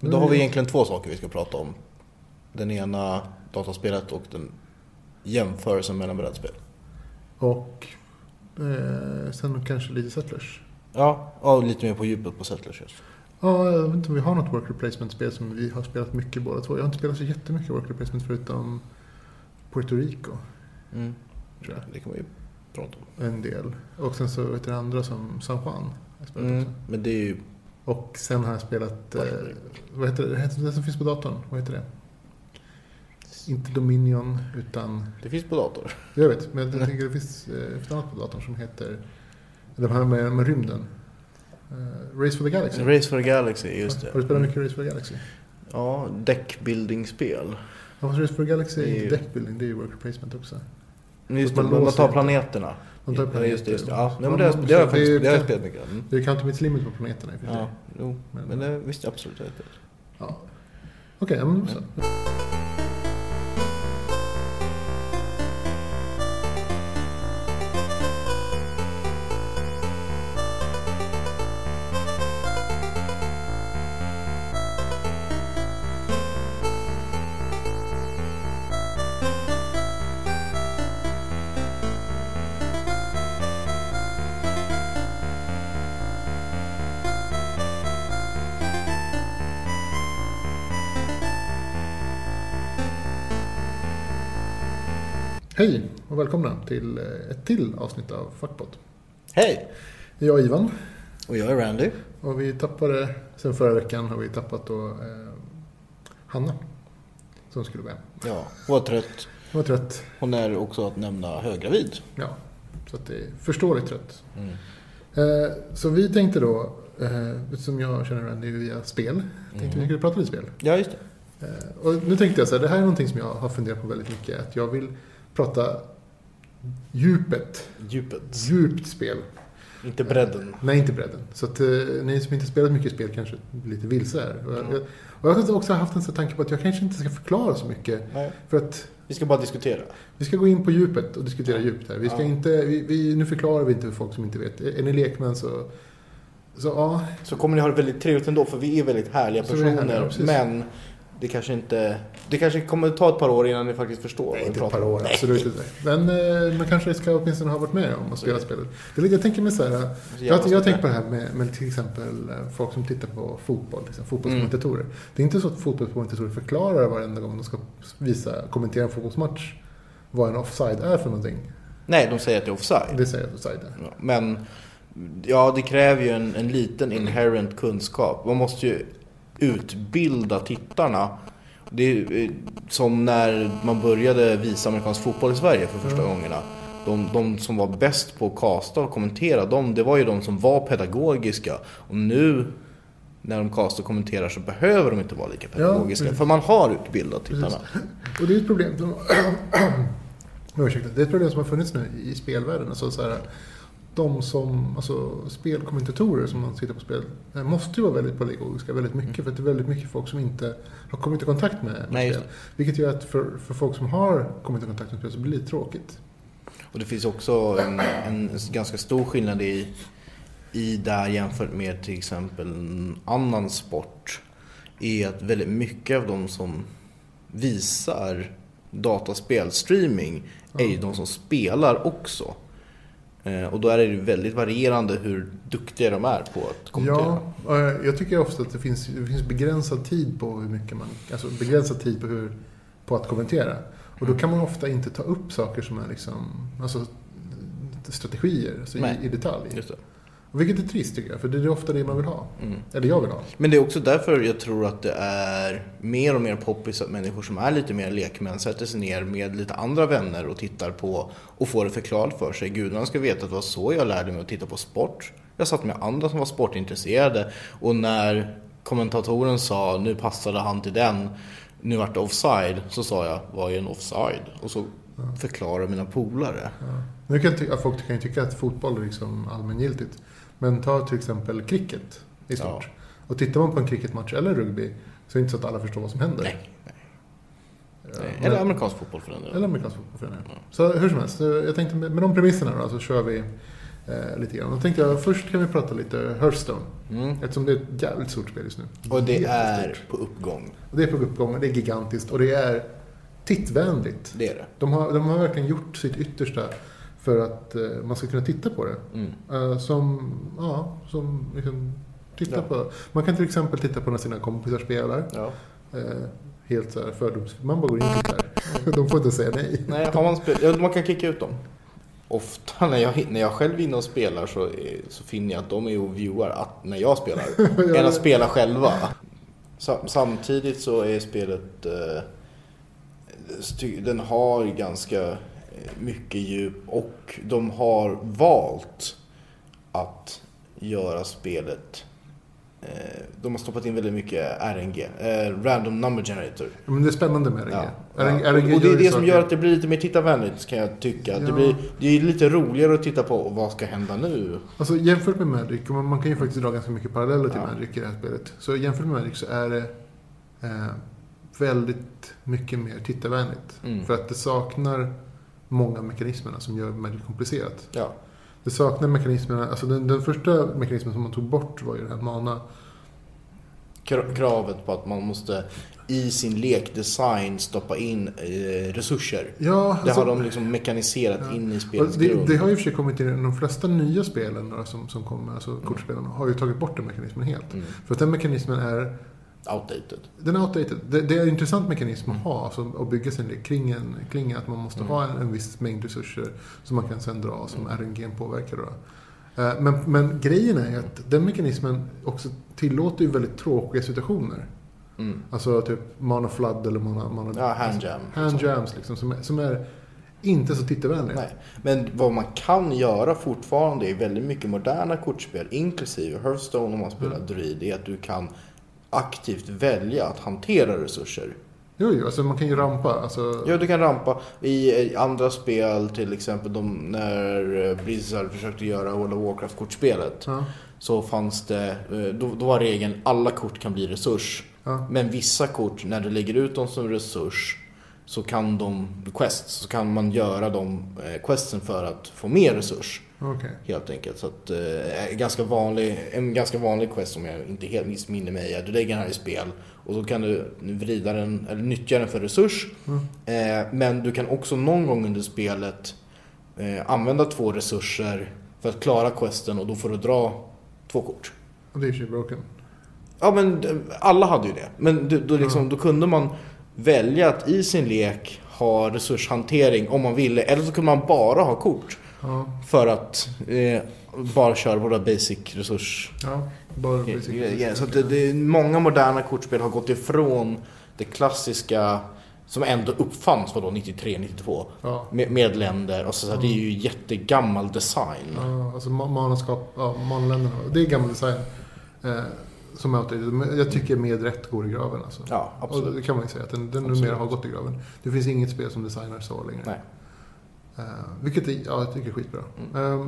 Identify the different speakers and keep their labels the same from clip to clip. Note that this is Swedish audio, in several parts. Speaker 1: Men då har vi egentligen två saker vi ska prata om. Den ena dataspelet och den jämförelsen mellan brädspel.
Speaker 2: Och eh, sen kanske lite Settlers.
Speaker 1: Ja, och lite mer på djupet på Settlers just.
Speaker 2: Ja, jag vet inte om vi har något work replacement-spel som vi har spelat mycket båda två. Jag har inte spelat så jättemycket work replacement förutom Puerto Rico.
Speaker 1: Mm.
Speaker 2: Tror
Speaker 1: Det kan vi ju prata om.
Speaker 2: En del. Och sen så vet du det andra som San Juan. Jag spelat
Speaker 1: Mm.
Speaker 2: också.
Speaker 1: Men det är ju...
Speaker 2: Och sen har jag spelat... Eh,
Speaker 1: Puerto Rico.
Speaker 2: vad heter det? det? heter- Det som finns på datorn. Vad heter det? Inte Dominion, utan...
Speaker 1: Det finns på dator.
Speaker 2: Jag vet, men jag tänker det finns eh, ett annat på datorn som heter... De här med, med rymden. Eh, Race for the Galaxy.
Speaker 1: Race for the Galaxy, just det.
Speaker 2: Har du spelat mycket Race for the Galaxy?
Speaker 1: Ja, deckbuilding-spel.
Speaker 2: Ja, fast Race for the Galaxy
Speaker 1: Det är
Speaker 2: är
Speaker 1: ju-
Speaker 2: inte deckbuilding, det är ju work replacement också.
Speaker 1: Men Just det,
Speaker 2: Man
Speaker 1: man
Speaker 2: låser
Speaker 1: tar
Speaker 2: inte.
Speaker 1: planeterna.
Speaker 2: De tar
Speaker 1: Ja, just det, just det. Ja, nej, men
Speaker 2: Man
Speaker 1: det, har jag-
Speaker 2: måste-
Speaker 1: det har jag faktiskt det har jag
Speaker 2: är ju-
Speaker 1: spelat mycket. Mm.
Speaker 2: Det är ju Count Mitt Limit på planeterna i och för sig.
Speaker 1: Ja, jo.
Speaker 2: Men-
Speaker 1: Men det visste jag absolut att det
Speaker 2: Ja. Okej, ja, men så. Hej och välkomna till eh, ett till avsnitt av Fuckpot.
Speaker 1: Hej!
Speaker 2: Det är Jag Ivan
Speaker 1: Och jag är Randy.
Speaker 2: och vi tappade, sen förra veckan har vi tappat då eh, Hanna som skulle vara med.
Speaker 1: Ja, var trött.
Speaker 2: Hon var trött,
Speaker 1: Hon är också att nämna höggravid.
Speaker 2: ja, så att det är förståeligt trött. Eh, så vi tänkte då, eh, som jag känner Randy via spel, tänkte
Speaker 1: Mm.
Speaker 2: vi skulle prata lite spel.
Speaker 1: Ja, just det.
Speaker 2: Eh, Och nu tänkte jag så här, det här är någonting som jag har funderat på väldigt mycket. Att jag vill prata djupet,
Speaker 1: Djupet.
Speaker 2: djupt spel.
Speaker 1: Inte bredden.
Speaker 2: Nej, inte bredden. Så att eh, ni som inte spelat mycket spel kanske blir lite vilse här. Och jag,
Speaker 1: Mm.
Speaker 2: jag, och jag har också haft en sån tanke på att jag kanske inte ska förklara så mycket.
Speaker 1: Nej.
Speaker 2: För att
Speaker 1: Vi ska bara diskutera.
Speaker 2: vi ska gå in på djupet och diskutera djupt här. Vi ska
Speaker 1: Ja.
Speaker 2: inte, vi, vi, nu förklarar vi inte för folk som inte vet. Är är ni lekmän så... Så ja,
Speaker 1: Så kommer ni ha det väldigt trevligt ändå för vi är väldigt härliga
Speaker 2: Så vi är härliga,
Speaker 1: personer.
Speaker 2: precis.
Speaker 1: men det kanske inte... Det kanske kommer ta ett par år innan ni faktiskt förstår
Speaker 2: Nej, inte ett
Speaker 1: pratar
Speaker 2: par
Speaker 1: om.
Speaker 2: år,
Speaker 1: Nej.
Speaker 2: absolut inte. Men eh, man kanske ska åtminstone ha varit med om att spela
Speaker 1: Mm.
Speaker 2: spelet. Det är lite- Jag tänker mig så här, jag, jag tänker på det här med, med till exempel eh, folk som tittar på fotboll, liksom, fotbollskommentatorer. Det är inte så att fotbollskommentatorer förklarar varenda gång de ska visa, kommentera en fotbollsmatch vad en offside är för någonting.
Speaker 1: Nej, de säger att det är offside.
Speaker 2: Det säger jag offside är.
Speaker 1: Ja, Men ja, det kräver ju en, en liten inherent kunskap. Man måste ju utbilda tittarna. Det är ju, eh, som när man började visa amerikansk fotboll i Sverige för första gångerna. De, de som var bäst på att kasta och kommentera, de, det var ju de som var pedagogiska. Och nu när de kastar och kommenterar så behöver de inte vara lika pedagogiska.
Speaker 2: precis.
Speaker 1: för man har utbildat tittarna.
Speaker 2: Och det är ett problem som... Ursäkta, det är ett problem som har funnits nu i spelvärlden. Alltså, så här, de som, alltså spelkommentatorer som man sitter på spel, eh, måste ju vara väldigt pedagogiska väldigt mycket. För att det är väldigt mycket folk som inte har kommit i kontakt med, med
Speaker 1: Nej, just
Speaker 2: spel. Vilket gör att för, för folk som har kommit i kontakt med spel så blir det lite tråkigt.
Speaker 1: Och det finns också en, en ganska stor skillnad i, i där jämfört med till exempel en annan sport. Är att väldigt mycket av de som visar dataspel, streaming, är ju de som spelar också. Eh, Och då är det ju väldigt varierande hur duktiga de är på att kommentera.
Speaker 2: Ja, eh, jag tycker ofta att det finns, det finns begränsad tid på hur mycket man, alltså begränsad tid på, hur, på att kommentera. Och då kan man ofta inte ta upp saker som är liksom, alltså strategier alltså
Speaker 1: Nej.
Speaker 2: i, i detalj.
Speaker 1: Just det.
Speaker 2: Vilket är trist tycker jag, för det är ofta det man vill ha.
Speaker 1: Mm.
Speaker 2: Eller jag vill ha.
Speaker 1: Men det är också därför jag tror att det är mer och mer poppis att människor som är lite mer lekmän sätter sig ner med lite andra vänner och tittar på och får det förklarat för sig. Gudarna ska veta att det var så jag lärde mig att titta på sport. Jag satt med andra som var sportintresserade och när kommentatoren sa nu passade han till den, nu vart det offside, så sa jag vad är en offside? Och så förklarade mina polare.
Speaker 2: Nu kan jag ty- ja, folk kan ju tycka att fotboll är liksom allmängiltigt. Men ta till exempel cricket i stort. Och tittar man på en cricketmatch eller rugby så är det inte så att alla förstår vad som händer.
Speaker 1: Nej.
Speaker 2: Ja, men-
Speaker 1: Eller amerikansk fotboll för den delen.
Speaker 2: Eller amerikansk fotboll för den här. Så hur som helst, eh, jag tänkte med, med de premisserna då, så kör vi Eh, lite grann. Då tänkte jag först kan vi prata lite Hearthstone.
Speaker 1: Mm.
Speaker 2: Eftersom det är ett jävligt stort spel just nu.
Speaker 1: Och det
Speaker 2: Jättestort.
Speaker 1: är på uppgång.
Speaker 2: Och det är på uppgång, och det är gigantiskt och det är tittvänligt.
Speaker 1: Det är det.
Speaker 2: De har, de har verkligen gjort sitt yttersta för att eh, man ska kunna titta på det.
Speaker 1: Mm.
Speaker 2: Eh, som, ja, som liksom, titta
Speaker 1: Ja.
Speaker 2: på. Man kan till exempel titta på när sina kompisar spelar.
Speaker 1: Ja.
Speaker 2: Eh, helt så här fördoms... Man bara går in och tittar. De får inte säga nej.
Speaker 1: Nej, har man, spel- ja, man kan kicka ut dem. Ofta när jag, när jag själv är inne och spelar så, är- så finner jag att de är och viewar att, när jag spelar. Än att spela själva. Sa- Samtidigt så är spelet... Eh, sty- den har ganska eh, mycket djup och de har valt att göra spelet... Eh, de har stoppat in väldigt mycket RNG, eh, Random Number Generator.
Speaker 2: Men det är spännande med RNG.
Speaker 1: Ja.
Speaker 2: RNG,
Speaker 1: Ja. Och det
Speaker 2: ju
Speaker 1: är det som
Speaker 2: saker-
Speaker 1: gör att det blir lite mer tittarvänligt kan jag tycka. Det,
Speaker 2: Ja.
Speaker 1: blir, det är lite roligare att titta på vad ska hända nu.
Speaker 2: Alltså jämfört med Magic, och man, man kan ju faktiskt dra ganska mycket paralleller till
Speaker 1: Ja.
Speaker 2: Magic i det här spelet. Så jämfört med Magic så är det eh, väldigt mycket mer tittarvänligt.
Speaker 1: Mm.
Speaker 2: För att det saknar många mekanismerna som gör Magic komplicerat.
Speaker 1: Ja.
Speaker 2: Det saknar mekanismerna, alltså den, den första mekanismen som man tog bort var ju den här mana.
Speaker 1: Kra- Kravet på att man måste i sin lekdesign stoppa in eh, resurser.
Speaker 2: Ja,
Speaker 1: Det
Speaker 2: alltså-
Speaker 1: har de liksom mekaniserat
Speaker 2: Ja.
Speaker 1: in i spelets
Speaker 2: Och det,
Speaker 1: grund.
Speaker 2: det har ju i och för sig kommit in i de flesta nya spelen några som, som kommer, alltså kortspelen, har ju tagit bort den mekanismen helt.
Speaker 1: Mm.
Speaker 2: För att den mekanismen är,
Speaker 1: Outdated.
Speaker 2: den är outdated. Det, det är en intressant mekanism att ha, alltså, att bygga sin lek kring, en, kring att man måste
Speaker 1: Mm.
Speaker 2: ha en, en viss mängd resurser som man kan sen dra, som RNG påverkar. Då. Eh, Men, men grejen är ju att den mekanismen också tillåter ju väldigt tråkiga situationer.
Speaker 1: Mm.
Speaker 2: Alltså typ mana flood eller mana... mana
Speaker 1: Ja, handjam.
Speaker 2: handjams liksom, som är, som är inte så tittarvänliga.
Speaker 1: Nej. Men vad man kan göra fortfarande i väldigt mycket moderna kortspel, inklusive Hearthstone om man spelar druid, är att du kan aktivt välja att hantera resurser.
Speaker 2: Jo, jo, alltså man kan ju rampa. Alltså,
Speaker 1: Ja, du kan rampa. I eh, andra spel, till exempel de, när eh, Blizzard försökte göra World of Warcraft-kortspelet,
Speaker 2: Ja,
Speaker 1: så fanns det, eh, då, då var regeln alla kort kan bli resurs.
Speaker 2: ja.
Speaker 1: Men vissa kort, när du lägger ut dem som resurs, så kan de, quests, så kan man göra de eh, questen för att få mer resurs.
Speaker 2: Okej.
Speaker 1: Helt enkelt. Så att, eh, en ganska vanlig, en ganska vanlig quest om jag inte helt missminner mig är du lägger den här i spel och så kan du vrida den, eller nyttja den för resurs.
Speaker 2: Mm.
Speaker 1: Eh, men du kan också någon gång under spelet eh, använda två resurser för att klara questen och då får du dra två kort.
Speaker 2: Och det är ju broken.
Speaker 1: Ja men d- alla hade ju det. Men du, då, liksom,
Speaker 2: Mm.
Speaker 1: då kunde man välja att i sin lek ha resurshantering om man ville eller så kunde man bara ha kort.
Speaker 2: Ja,
Speaker 1: För att eh, bara köra våra basic resurs Eh,
Speaker 2: ja. Bara basic-
Speaker 1: grejer. Så att det, det, är- många moderna kortspel har gått ifrån det klassiska som ändå uppfanns vadå, 93-92
Speaker 2: Ja.
Speaker 1: med, med länder. Och så, så här, det är ju jättegammal design.
Speaker 2: ja, alltså ma- manaskap, ja, manländerna. Det är gammal design. Eh, som är outdated. Men jag tycker med rätt går i graven alltså.
Speaker 1: Ja,
Speaker 2: Och
Speaker 1: absolut.
Speaker 2: det kan man ju säga att den, den
Speaker 1: Absolut.
Speaker 2: numera har gått i graven. Det finns inget spel som designar så längre.
Speaker 1: Nej.
Speaker 2: Eh, vilket är, ja, jag tycker är skitbra.
Speaker 1: Mm.
Speaker 2: Eh,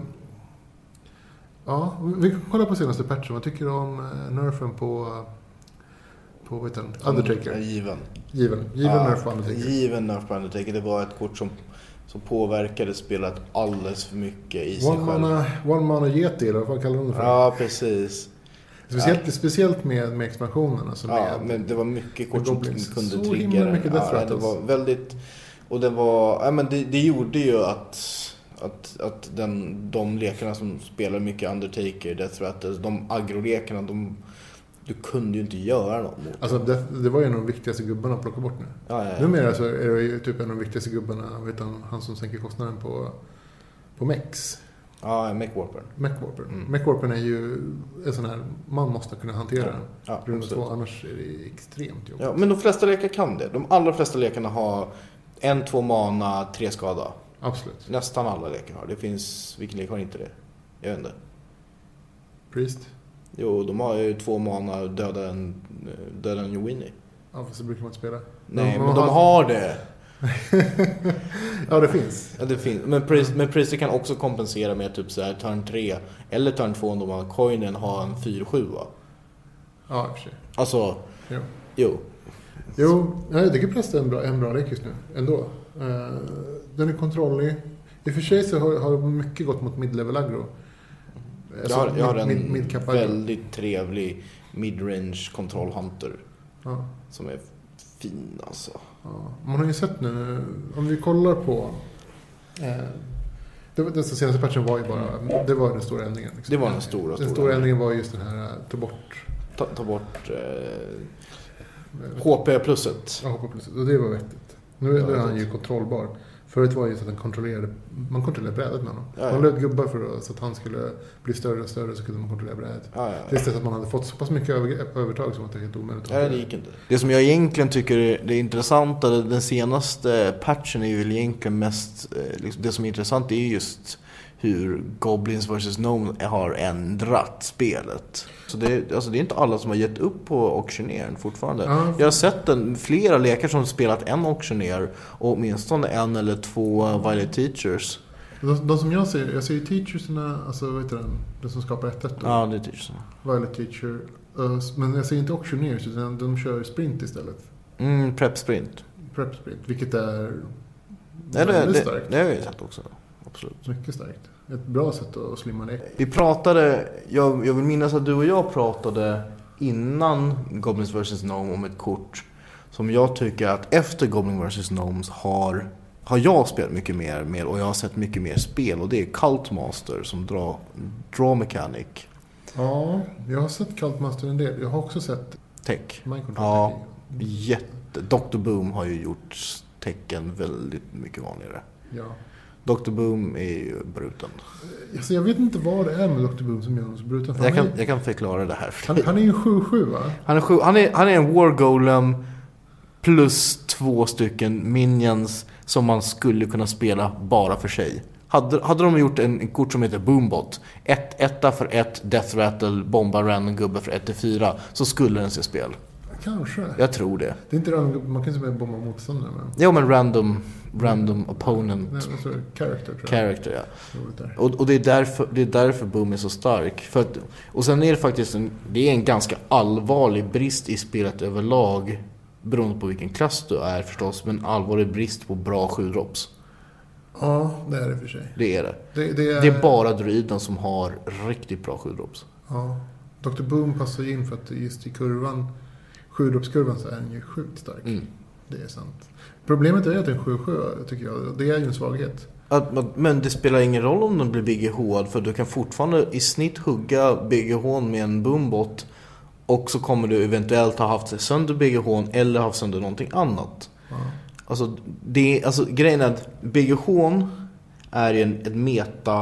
Speaker 2: ja, vi kan kolla på senaste patchen. Vad tycker du om eh, nerfen på, på vad heter den? Undertaker?
Speaker 1: Given.
Speaker 2: Given, given nerf på Undertaker.
Speaker 1: Given nerf på Undertaker. Det var ett kort som, som påverkade spelet alldeles för mycket i sig
Speaker 2: One
Speaker 1: själv.
Speaker 2: mana, one mana yeti eller vad kallar de det för?
Speaker 1: Ja, precis.
Speaker 2: Speciellt, speciellt med, med alltså expansionerna. Som
Speaker 1: Ja,
Speaker 2: är,
Speaker 1: men det var mycket kort som
Speaker 2: Goblins.
Speaker 1: kunde
Speaker 2: Så
Speaker 1: trigga
Speaker 2: himla
Speaker 1: den.
Speaker 2: mycket Death
Speaker 1: ja, det
Speaker 2: Rattles.
Speaker 1: var väldigt... Och det var... Ja, men det, det gjorde ju att... Att, att den, de lekarna som spelar mycket Undertaker, Death Rattles, de aggrolekarna, de... Du kunde ju inte göra något mot.
Speaker 2: alltså, det, det var ju en av de viktigaste gubbarna att plocka bort nu.
Speaker 1: Ja, ja, ja.
Speaker 2: Numera så är det ju typ en av de viktigaste gubbarna, vet han, han som sänker kostnaden på, på Mex.
Speaker 1: ja McWarper.
Speaker 2: Mechwarpen.
Speaker 1: Mm.
Speaker 2: Mechwarpen är ju en sån här, man måste kunna hantera den.
Speaker 1: Ja,
Speaker 2: Runda
Speaker 1: absolut.
Speaker 2: två, annars är det extremt jobbigt.
Speaker 1: ja, men de flesta lekar kan det. De allra flesta lekarna har en, två mana, tre skada.
Speaker 2: Absolut.
Speaker 1: Nästan alla lekar har det. finns... Vilken lek har inte det? Jag vet inte.
Speaker 2: Priest.
Speaker 1: Jo, de har ju två mana, döda en, döda en Winnie.
Speaker 2: Ja, fast det brukar man inte spela.
Speaker 1: Nej, men
Speaker 2: Men man
Speaker 1: de
Speaker 2: har-
Speaker 1: har det.
Speaker 2: Ja, det finns.
Speaker 1: Ja, det finns. Men, Priest, men Priester kan också kompensera med typ så här turn 3 eller turn 2 om de har coinen har en 4-7. va?
Speaker 2: Ja, i och för sig.
Speaker 1: Alltså,
Speaker 2: Jo.
Speaker 1: jo.
Speaker 2: Jo, nej, jag tycker Prest är en bra, en bra lek just nu ändå. Eh, den är kontrollig. I och för sig så har, har mycket gått mot mid-level aggro.
Speaker 1: jag har, jag har en
Speaker 2: Alltså, mid, mid, mid
Speaker 1: väldigt trevlig midrange control hunter.
Speaker 2: Ja.
Speaker 1: Som är fin alltså.
Speaker 2: Ja. Man har ju sett nu, om vi kollar på... Eh, det, var- den senaste patchen var ju bara, det var den stora ändringen. liksom.
Speaker 1: Det var den stora,
Speaker 2: Den
Speaker 1: stora
Speaker 2: stora, ändringen var just den här, eh, ta bort...
Speaker 1: Ta, ta bort eh,
Speaker 2: eh,
Speaker 1: HP-plusset.
Speaker 2: Ja, hoppa plus. Och det var vettigt. Nu
Speaker 1: Ja,
Speaker 2: är han
Speaker 1: det-
Speaker 2: ju kontrollbar. Förut var det ju så att han kontrollerade, man kontrollerade brädet med honom.
Speaker 1: Ja, ja.
Speaker 2: Man lät gubbar för att, så att han skulle bli större och större så kunde man kontrollera brädet.
Speaker 1: Ja, ja, ja.
Speaker 2: Tills dess att man hade fått så pass mycket över, övertag som att det är helt omöjligt att
Speaker 1: Nej, det
Speaker 2: kontrollera.
Speaker 1: gick inte. Det som jag egentligen tycker är det intressanta, det- den senaste patchen är ju väl egentligen mest, eh, liksom, det som är intressant är ju just hur Goblins vs. Gnome har ändrat spelet. Så det, alltså det är inte alla som har gett upp på Auctioneer fortfarande.
Speaker 2: Ja,
Speaker 1: Jag har sett en, flera lekar som spelat en Auctioneer och åtminstone en eller två Violet Teachers.
Speaker 2: de, de som jag ser, jag ser ju teacherserna, alltså vad heter den, den som skapar 1 då.
Speaker 1: Ja, det är teachers.
Speaker 2: Violet Teacher. eh, Men jag ser inte auctioneers utan de kör sprint istället.
Speaker 1: Mm, Prep Sprint.
Speaker 2: Prep sprint, vilket är
Speaker 1: Det, det,
Speaker 2: väldigt
Speaker 1: det,
Speaker 2: starkt.
Speaker 1: det har jag ju sett också. Absolut.
Speaker 2: Mycket starkt. Ett bra sätt att slimma ner.
Speaker 1: Vi pratade, jag, jag vill minnas att du och jag pratade innan Goblins vs. Gnome om ett kort som jag tycker att efter Goblins vs. Gnomes har, har jag spelat mycket mer med och jag har sett mycket mer spel och det är Cult Master som drar Draw Mechanic
Speaker 2: Ja, jag har sett Cult Master en del. Jag har också sett
Speaker 1: Tech.
Speaker 2: Mind Control.
Speaker 1: Ja. Jätte, Dr. Boom har ju gjort tecken väldigt mycket vanligare.
Speaker 2: ja.
Speaker 1: Dr. Boom är ju bruten.
Speaker 2: Alltså, jag vet inte vad det är med Dr. Boom som gör honom så bruten. för
Speaker 1: Jag
Speaker 2: han,
Speaker 1: kan,
Speaker 2: är,
Speaker 1: jag kan förklara det här för
Speaker 2: han, han är ju 7-7 va?
Speaker 1: Han är, sju, han, är, han är en War Golem plus två stycken minions som man skulle kunna spela bara för sig. Hade, hade de gjort en, en kort som heter Boombot, ett, etta för ett, Death Rattle, bomba random gubbe för ett till fyra, så skulle den se spel.
Speaker 2: Kanske.
Speaker 1: Jag tror det.
Speaker 2: Det är inte random, man kan ju inte bara bomba motståndare med.
Speaker 1: Jo men random, random opponent
Speaker 2: Nej, alltså, character tror jag.
Speaker 1: character ja.
Speaker 2: Det var det där.
Speaker 1: Och, och det, är därför, det är därför Boom är så stark. För att, och sen är det faktiskt en, det är en ganska allvarlig brist i spelet överlag. Beroende på vilken klass du är förstås, men allvarlig brist på bra 7-drops.
Speaker 2: Ja, det är det för sig.
Speaker 1: Det är det.
Speaker 2: Det, det, är,
Speaker 1: Det är bara druiden som har riktigt bra 7-drops.
Speaker 2: Ja. Dr. Boom passar ju in för att just i kurvan, sjudroppskurvan, så är den ju sjukt stark.
Speaker 1: Mm.
Speaker 2: Det är sant. Problemet är att den 7-7 tycker jag, det är ju en svaghet.
Speaker 1: Att, att, men det spelar ingen roll om den blir BGH för du kan fortfarande i snitt hugga BGH med en boombot. Och så kommer du eventuellt ha haft sönder BGH eller haft sönder någonting annat.
Speaker 2: Ja.
Speaker 1: Alltså, det, alltså grejen är att BGH är ju en, ett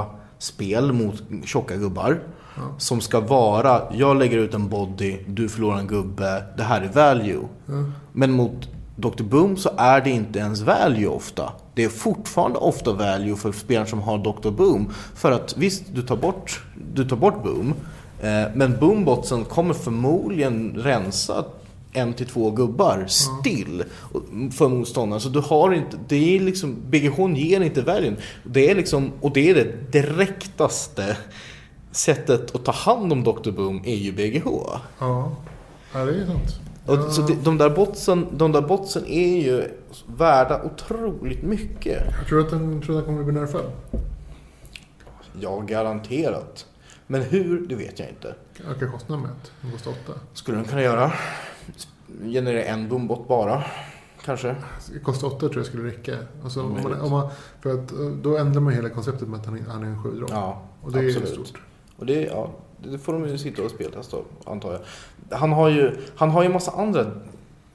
Speaker 1: metaspel mot tjocka gubbar.
Speaker 2: Ja.
Speaker 1: Som ska vara, jag lägger ut en body, du förlorar en gubbe, det här är value.
Speaker 2: Ja.
Speaker 1: Men mot Dr. Boom så är det inte ens value ofta. Det är fortfarande ofta value för spelaren som har Dr. Boom. För att visst, du tar bort, du tar bort Boom. Eh, men Boombotsen kommer förmodligen rensa en till två gubbar still och- för motståndaren. Så du har inte, det är liksom, BGH ger inte value. Det är liksom, och det är det direktaste sättet att ta hand om Dr. Boom är ju BGH.
Speaker 2: Ja, ja det är ju sant.
Speaker 1: Och,
Speaker 2: Ja.
Speaker 1: Så det, de, där botsen, de där botsen är ju värda otroligt mycket.
Speaker 2: Jag tror att den, tror att den kommer att bli nerfad.
Speaker 1: Ja, garanterat. Men hur, det vet jag inte.
Speaker 2: Ökar kostnaden med ett. Den kostar åtta.
Speaker 1: Skulle de kunna göra? Generera en boombot bara, kanske?
Speaker 2: Kostar åtta tror jag skulle räcka. Alltså, om man,
Speaker 1: Möjligt.
Speaker 2: om man, för att, eh, då ändrar man hela konceptet med att han, är- han är en sjudropp.
Speaker 1: Ja,
Speaker 2: och det är ju
Speaker 1: absolut.
Speaker 2: stort.
Speaker 1: Och det, ja, det får de ju sitta och speltesta av, antar jag. Han har ju, han har ju massa andra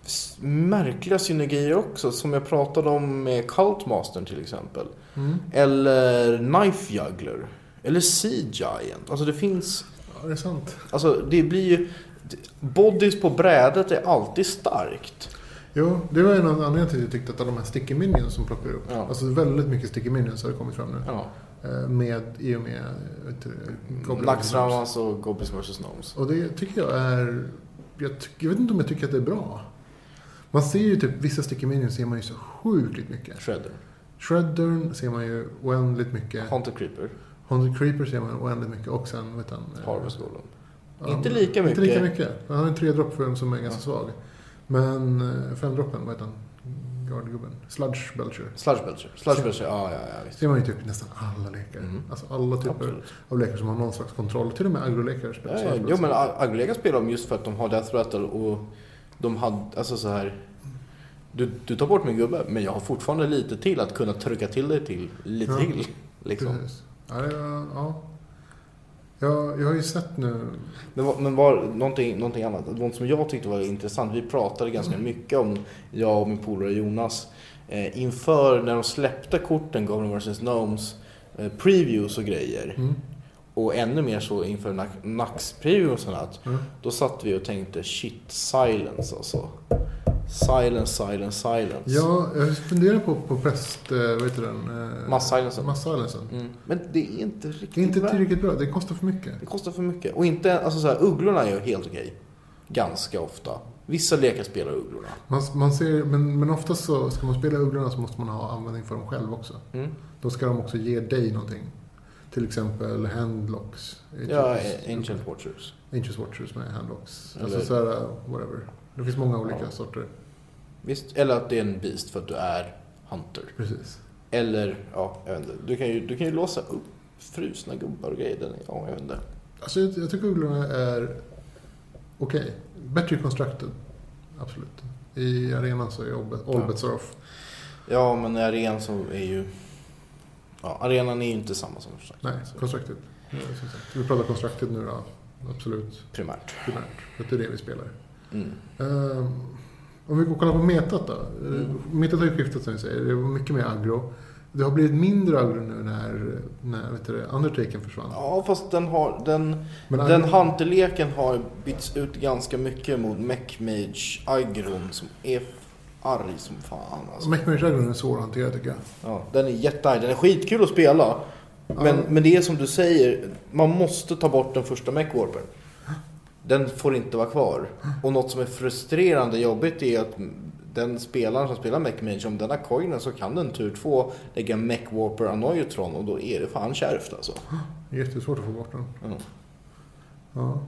Speaker 1: s- märkliga synergier också, som jag pratade om med Cultmastern till exempel.
Speaker 2: Mm.
Speaker 1: Eller Knife Juggler. Eller Sea Giant. Alltså det finns
Speaker 2: Ja, det är sant.
Speaker 1: Alltså det blir ju... Bodies på brädet är alltid starkt.
Speaker 2: Jo, det var en av anledningarna till att jag tyckte att alla de här sticky minions som plockar upp.
Speaker 1: Ja.
Speaker 2: Alltså väldigt mycket sticky minions har det kommit fram nu.
Speaker 1: Ja.
Speaker 2: Eh, Med, I och med eh, vet du, Goblin Wars.
Speaker 1: Mm, Laxramas och Goblins vs. Gnomes.
Speaker 2: Och det tycker jag är... Jag, ty- jag vet inte om jag tycker att det är bra. Man ser ju typ vissa sticky minions ser man ju så sjukligt mycket.
Speaker 1: Shredder.
Speaker 2: Shreddern ser man ju oändligt mycket.
Speaker 1: Haunted Creeper.
Speaker 2: Haunted Creeper ser man oändligt mycket och sen vet han, eh,
Speaker 1: Harvest Golem.
Speaker 2: ja,
Speaker 1: Inte lika mycket.
Speaker 2: Inte lika mycket. Han har en tredropp för en som är ganska svag. Men eh, femdroppen, vad heter han? guardgubben? Sludge Belcher.
Speaker 1: Sludge Belcher. Sludge Belcher, ja, ja, ja visst.
Speaker 2: Det var ju typ nästan alla lekar.
Speaker 1: Mm.
Speaker 2: Alltså alla typer
Speaker 1: Absolut.
Speaker 2: av lekar som har någon slags kontroll. Till och med agrolekar spelar
Speaker 1: Ja, ja.
Speaker 2: Sludge
Speaker 1: Jo
Speaker 2: Belcher.
Speaker 1: men Aglega spelar de just för att de har Death Rattle och de hade, alltså så här. Du, du tar bort min gubbe, men jag har fortfarande lite till att kunna trycka till dig till, lite
Speaker 2: Ja.
Speaker 1: till. Liksom.
Speaker 2: Precis. Ja, det var, ja. Jag, jag har ju sett nu...
Speaker 1: Men, var, men var någonting, någonting annat, något som jag tyckte var intressant, vi pratade ganska
Speaker 2: Mm.
Speaker 1: mycket om, jag och min polare Jonas, eh, inför när de släppte korten Governor vs. Gnomes, eh, previews och grejer,
Speaker 2: Mm.
Speaker 1: och ännu mer så inför Nax- Nax-preview och sånt, där,
Speaker 2: Mm.
Speaker 1: då satt vi och tänkte shit, silence alltså. Silence, silence, silence.
Speaker 2: Ja, jag funderar på, på präst... eh, Vad heter den? Eh,
Speaker 1: Mass-silencer.
Speaker 2: Mass-silensen.
Speaker 1: Mm. Men det är inte riktigt
Speaker 2: Det är inte
Speaker 1: värt-
Speaker 2: tillräckligt bra. Det kostar för mycket.
Speaker 1: Det kostar för mycket. Och inte, alltså så här, ugglorna är ju helt okej. Ganska ofta. Vissa lekar spelar ugglorna.
Speaker 2: Man, man ser, men, men oftast så, ska man spela ugglorna så måste man ha användning för dem själv också.
Speaker 1: Mm.
Speaker 2: Då ska de också ge dig någonting. Till exempel handlocks.
Speaker 1: Ja, Ancient Watchers.
Speaker 2: Ancient Watchers med handlocks. Alltså
Speaker 1: Eller-
Speaker 2: så här, whatever. Det finns många olika sorter.
Speaker 1: Visst, eller att det är en beast för att du är hunter.
Speaker 2: Precis.
Speaker 1: Eller, ja, jag vet inte. Du kan ju, du kan ju låsa upp frusna gubbar och grejer. Den är- Ja, jag vet inte.
Speaker 2: Alltså jag, jag tycker ugglorna är okej. Bättre constructed. Absolut. I arenan så är all- all
Speaker 1: Ja.
Speaker 2: bets are off.
Speaker 1: Ja, men arenan så är ju... Ja, arenan är ju inte samma som sagt.
Speaker 2: Nej,
Speaker 1: Så,
Speaker 2: constructed. Ja, som sagt. Vi pratar constructed nu då. Absolut.
Speaker 1: primärt.
Speaker 2: Primärt. För att det är det vi spelar.
Speaker 1: Mm.
Speaker 2: Eh, om vi går och kollar på metat då. Eh,
Speaker 1: Mm.
Speaker 2: Metat har ju skiftat som vi säger. Det var mycket mer aggro. Det har blivit mindre aggro nu när, när vet du, det, Undertaken försvann.
Speaker 1: Ja, fast den har... Den,
Speaker 2: Men
Speaker 1: Den
Speaker 2: aggro-
Speaker 1: hunterleken har bytts ut ganska mycket mot mechmage agron som är arg som fan alltså.
Speaker 2: Mechmage aggron är svår att hantera tycker jag.
Speaker 1: ja, Den är jättearg, den är skitkul att spela. Men,
Speaker 2: Ja.
Speaker 1: men det är som du säger, man måste ta bort den första mechwarpern. Den får inte vara kvar. Och något som är frustrerande jobbigt är att den spelaren som spelar mechmage, om den har coinen så kan den tur två lägga mechwarper anoyotron och då är det fan kärvt alltså.
Speaker 2: Jättesvårt att få bort den.
Speaker 1: Ja.
Speaker 2: Ja.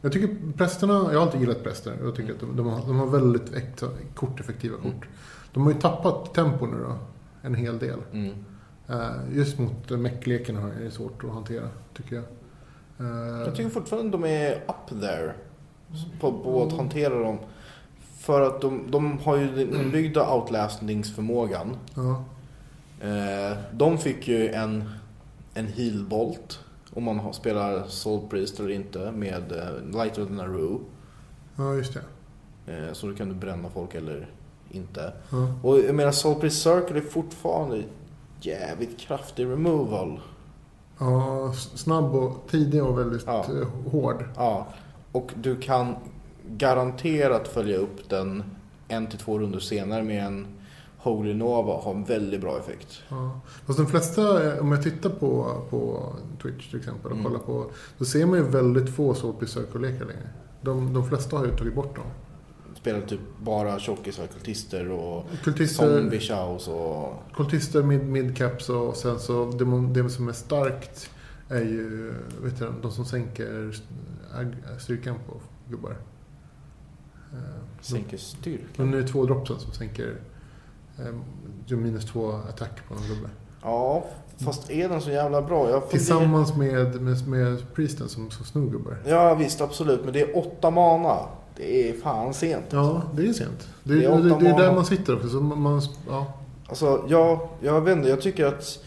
Speaker 2: Jag tycker prästerna, jag har alltid gillat präster. Jag tycker att de, de, har, de har väldigt äkta, korteffektiva
Speaker 1: Mm.
Speaker 2: kort. De har ju tappat tempo nu då. En hel del.
Speaker 1: Mm.
Speaker 2: Eh, just mot meckleken är det svårt att hantera tycker jag. Eh,
Speaker 1: Jag tycker fortfarande de är up there på, på att hantera dem. För att de, de har ju den inbyggda outlastningsförmågan.
Speaker 2: ja.
Speaker 1: Eh, de fick ju en, en healbolt om man har, spelar Soul Priest eller inte med eh, Light of the Naru.
Speaker 2: ja, just det.
Speaker 1: Eh, så då kan du bränna folk eller inte.
Speaker 2: Ja.
Speaker 1: Och jag menar Soul Priest Circle är fortfarande jävligt kraftig removal.
Speaker 2: Ja, s- snabb och tidig och väldigt
Speaker 1: Ja.
Speaker 2: eh, hård.
Speaker 1: Ja, och du kan garanterat följa upp den en till två runder senare med en Holy Nova och ha en väldigt bra effekt.
Speaker 2: Ja. Fast de flesta, eh, om jag tittar på, på Twitch till exempel och
Speaker 1: Mm.
Speaker 2: kollar på, då ser man ju väldigt få Soulpiece Circle-lekar längre. De, de flesta har ju tagit bort dem.
Speaker 1: Spelar typ bara tjockisar, kultister och
Speaker 2: Kultister,
Speaker 1: zombie shows och...
Speaker 2: kultister mid, midcaps och sen så det, mon- det som är starkt är ju vet du, de som sänker ag- styrkan på gubbar. Eh, de-
Speaker 1: Sänker
Speaker 2: Men
Speaker 1: styrkan.
Speaker 2: nu är det två droppsen som sänker eh, gör minus två attack på någon gubbe.
Speaker 1: Ja, fast är den så jävla bra? Jag funderar-
Speaker 2: Tillsammans med, med, med priesten som, som snor gubbar.
Speaker 1: Ja, visst, absolut. Men det är åtta mana. Det är fan sent.
Speaker 2: Ja, det är sent. Det,
Speaker 1: Det är
Speaker 2: är,
Speaker 1: åtta
Speaker 2: det, det är där
Speaker 1: månader.
Speaker 2: man sitter också. Så man, man, ja.
Speaker 1: Alltså, jag, jag vet inte, jag tycker att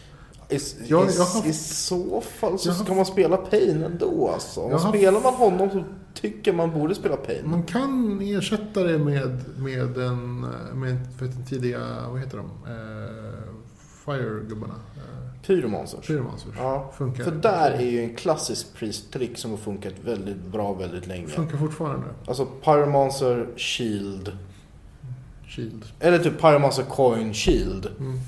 Speaker 1: i,
Speaker 2: Jag-
Speaker 1: i,
Speaker 2: jag har-
Speaker 1: i så fall så
Speaker 2: jag har-
Speaker 1: ska man spela Pain ändå alltså. Om
Speaker 2: Jag har-
Speaker 1: Spelar man honom så tycker man borde spela Pain.
Speaker 2: man kan ersätta det med, med, en, med för den tidiga, vad heter de? Eh, Fire-gubbarna. Eh,
Speaker 1: Pyromancers.
Speaker 2: Pyromancers.
Speaker 1: Ja.
Speaker 2: Funkar.
Speaker 1: För där är ju en klassisk pristrick som har funkat väldigt bra väldigt länge.
Speaker 2: Funkar fortfarande.
Speaker 1: Alltså Pyromancer Shield.
Speaker 2: Shield.
Speaker 1: Eller typ Pyromancer Coin Shield.
Speaker 2: Mm.